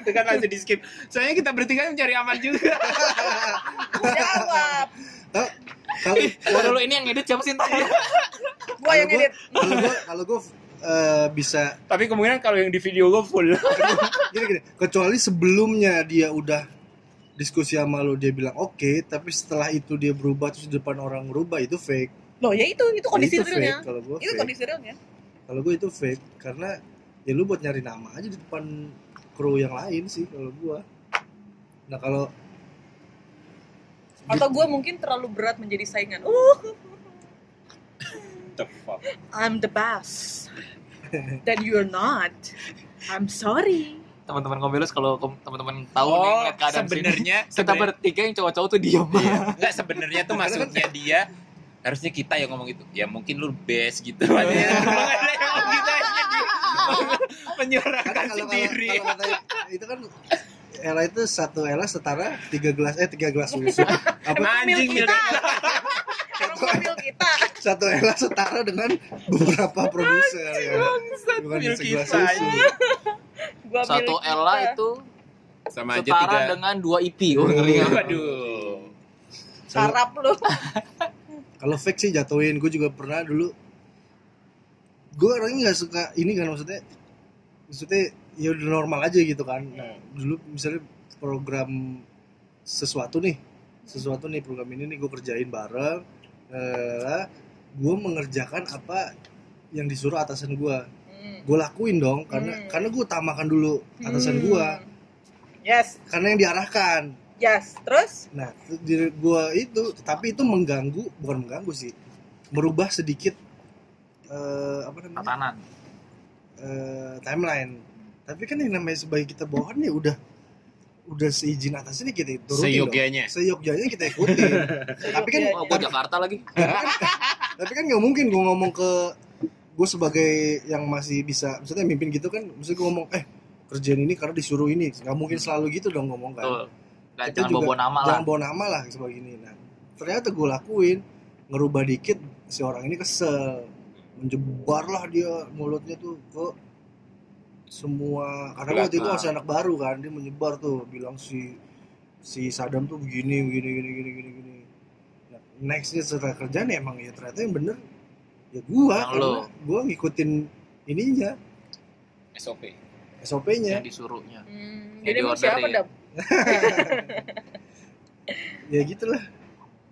Speaker 4: Itu kan langsung di skip. Soalnya kita bertiga mencari aman juga.
Speaker 1: Jawab.
Speaker 2: kalau
Speaker 3: Waduh lu ini yang edit siapa sih tadi?
Speaker 1: Gua yang
Speaker 2: Kalau gua-
Speaker 1: edit.
Speaker 2: kalau gue kalau gue bisa
Speaker 4: Tapi kemungkinan kalau yang di video gue full.
Speaker 2: gini gini kecuali sebelumnya dia udah diskusi sama lo dia bilang oke tapi setelah itu dia berubah terus di depan orang berubah itu fake
Speaker 1: Loh ya itu itu kondisi
Speaker 2: itu fake
Speaker 1: realnya.
Speaker 2: kalau gue
Speaker 1: Itu
Speaker 2: fake
Speaker 1: kondisi realnya.
Speaker 2: kalau gue itu fake karena ya lu buat nyari nama aja di depan kru yang lain sih kalau gue nah kalau
Speaker 1: Atau gua mungkin terlalu berat menjadi saingan. Uh, I'm the best. Then you're not. I'm sorry.
Speaker 3: Teman-teman kombelus kalau kom- teman-teman tahu nih
Speaker 4: Oh,
Speaker 3: ngeliat keadaan sini.
Speaker 4: sebenarnya
Speaker 3: Kita
Speaker 4: sebenarnya- Iya.
Speaker 3: bertiga yang cowok-cowok tuh diem.
Speaker 4: enggak sebenarnya tuh
Speaker 2: kan
Speaker 4: maksudnya dia harusnya kita yang ngomong itu. Ya mungkin lu best gitu.
Speaker 2: Iya.
Speaker 4: Makanya cuma ada yang ngomong gitu aja dia menyuarakan
Speaker 1: Kan
Speaker 2: Karena kan kalau
Speaker 4: sendiri.
Speaker 2: kalau kata itu kan Ella itu satu Ella setara tiga gelas eh tiga gelas susu. Apa
Speaker 4: Emang anjing
Speaker 1: Milk
Speaker 4: milk.
Speaker 1: karena ngambil kita
Speaker 2: satu ela setara dengan beberapa produser ya. Bukan di
Speaker 4: Milky
Speaker 2: segelas
Speaker 4: Way.
Speaker 2: susu.
Speaker 1: gua
Speaker 3: Satu
Speaker 1: milih
Speaker 3: Ella
Speaker 1: kita.
Speaker 3: itu
Speaker 4: sama aja
Speaker 3: setara
Speaker 4: tiga
Speaker 3: dengan dua IP. Oh, ngeri ya.
Speaker 4: waduh
Speaker 2: Kalau-
Speaker 1: sarap lu
Speaker 2: Kalau fake sih jatuhin, gue juga pernah dulu. Gue orangnya nggak suka ini kan maksudnya, maksudnya ya udah normal aja gitu kan.
Speaker 1: Hmm.
Speaker 2: Nah dulu misalnya program sesuatu nih, sesuatu nih program ini nih gue kerjain bareng. Eh, gue mengerjakan apa yang disuruh atasan gue.
Speaker 1: Hmm.
Speaker 2: Gue lakuin dong, karena
Speaker 1: Hmm.
Speaker 2: karena gue utamakan dulu atasan gue,
Speaker 1: Hmm. yes
Speaker 2: karena yang diarahkan.
Speaker 1: yes terus
Speaker 2: Nah, diri gua itu, tapi itu mengganggu, bukan mengganggu sih, merubah sedikit eh, apa namanya
Speaker 3: Tatanan.
Speaker 2: eh, timeline. Tapi kan yang namanya sebagai kita bawahan ya udah udah seizin atas ini kita turunin dong.
Speaker 4: seyogianya
Speaker 2: Seyogyanya kita ikutin. tapi
Speaker 4: Iya,
Speaker 2: kan
Speaker 3: Wah, gua Jakarta lagi.
Speaker 2: tapi kan nggak mungkin gua ngomong ke gue sebagai yang masih bisa, maksudnya mimpin gitu kan, maksudnya gue ngomong eh kerjaan ini karena disuruh ini, nggak mungkin selalu gitu dong ngomong kan.
Speaker 3: Betul. Dan
Speaker 2: Itu
Speaker 3: jangan
Speaker 2: juga-
Speaker 3: bawa nama lah.
Speaker 2: jangan bawa nama lah sebagai ini nah ternyata gue lakuin ngerubah dikit si orang ini kesel menjebar lah dia mulutnya tuh ke semua karena waktu itu
Speaker 4: Belakang.
Speaker 2: masih anak baru kan dia menyebar tuh bilang si si Sadam tuh begini begini gini gini gini gini nah, nextnya setelah kerjaan ya emang ya ternyata yang bener ya gua
Speaker 3: Yang
Speaker 2: karena
Speaker 3: lo.
Speaker 2: gua ngikutin ininya
Speaker 4: SOP
Speaker 2: SOP-nya
Speaker 3: Yang disuruhnya.
Speaker 1: hmm,
Speaker 3: Ya,
Speaker 1: jadi emang
Speaker 3: diorder
Speaker 1: siapa
Speaker 3: ya.
Speaker 1: dam
Speaker 2: ya gitulah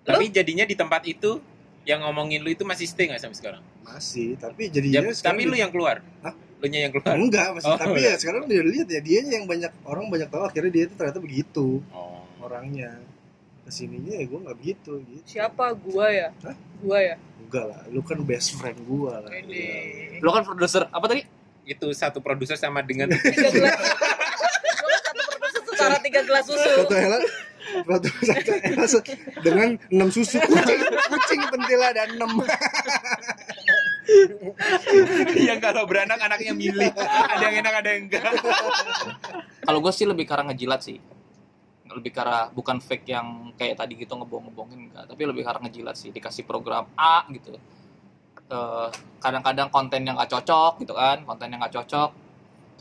Speaker 4: tapi jadinya di tempat itu yang ngomongin lu itu masih stay nggak sampai sekarang
Speaker 2: masih tapi jadinya
Speaker 4: Ya,
Speaker 2: sekarang
Speaker 4: tapi
Speaker 2: di-
Speaker 4: lu yang keluar
Speaker 2: Iya, Hah?
Speaker 4: lu nya yang keluar
Speaker 2: Enggak, maksud,
Speaker 4: Oh,
Speaker 2: tapi
Speaker 4: enggak.
Speaker 2: ya sekarang dia lihat ya dia yang banyak orang banyak tahu akhirnya dia itu ternyata begitu
Speaker 4: oh
Speaker 2: orangnya. Kesininya ya gue nggak begitu gitu.
Speaker 1: siapa gua ya
Speaker 2: Hah?
Speaker 1: gua ya
Speaker 2: Enggak lah, lu kan best friend gue lah.
Speaker 1: ini
Speaker 3: Lo kan produser. Apa tadi?
Speaker 4: itu satu produser sama dengan
Speaker 1: tiga gelas Gua satu produser setara tiga gelas susu
Speaker 2: Satu Ella, satu satu Ella se- dengan enam susu kucing, kucing pentila dan enam.
Speaker 4: yang kalau beranak anaknya milih ada yang enak ada yang enggak
Speaker 3: Kalau gue sih lebih ke arah ngejilat sih. Lebih ke arah bukan fake yang kayak tadi gitu ngebohong-ngebohongin enggak, tapi lebih ke arah ngejilat sih. Dikasih program A gitu. Eh, kadang-kadang konten yang gak cocok gitu kan, konten yang gak cocok.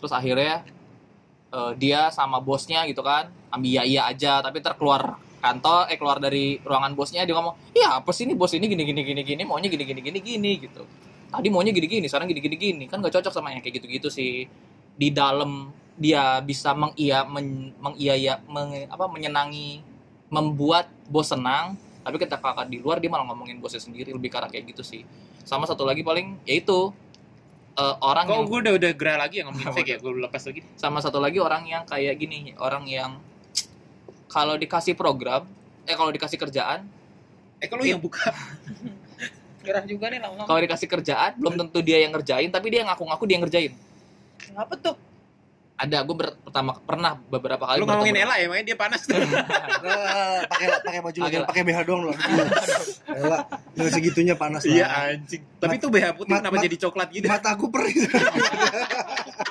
Speaker 3: Terus akhirnya eh, dia sama bosnya gitu kan, ambil iya aja, tapi terkeluar kantor, eh keluar dari ruangan bosnya dia ngomong, ya apa sih ini bos ini gini gini gini gini, maunya gini gini gini gini gitu. Tadi maunya gini gini, sekarang gini gini gini, kan gak cocok sama yang kayak gitu-gitu sih. Di dalam dia bisa mengia men, mengiaya meng- apa menyenangi membuat bos senang tapi ketika kakak di luar dia malah ngomongin bosnya sendiri lebih karena kayak gitu sih sama satu lagi paling yaitu eh, orang
Speaker 4: kok
Speaker 3: yang
Speaker 4: gue udah udah gerah lagi yang ngomongin fake ya gue lepas lagi
Speaker 3: sama satu lagi orang yang kayak gini orang yang kalau dikasih program eh kalau dikasih kerjaan
Speaker 4: eh kalau yang buka
Speaker 1: gerah juga nih lama-lama
Speaker 3: kalau dikasih kerjaan belum tentu dia yang ngerjain tapi dia ngaku-ngaku dia yang ngerjain
Speaker 1: apa tuh
Speaker 3: ada gue pertama pernah beberapa kali
Speaker 4: lu
Speaker 3: bertemu-
Speaker 4: ngomongin Ella ya makanya dia panas tuh
Speaker 2: Nah, pakai pakai baju lagi,
Speaker 3: Pakai lah.
Speaker 2: pakai BH doang lu. Ella, dengan segitunya
Speaker 4: Iya.
Speaker 2: panas lah.
Speaker 4: anjing tapi itu BH
Speaker 2: Iya,
Speaker 4: putih
Speaker 2: Mat-
Speaker 4: kenapa
Speaker 2: mat-
Speaker 4: jadi coklat gitu
Speaker 2: Mata aku perih.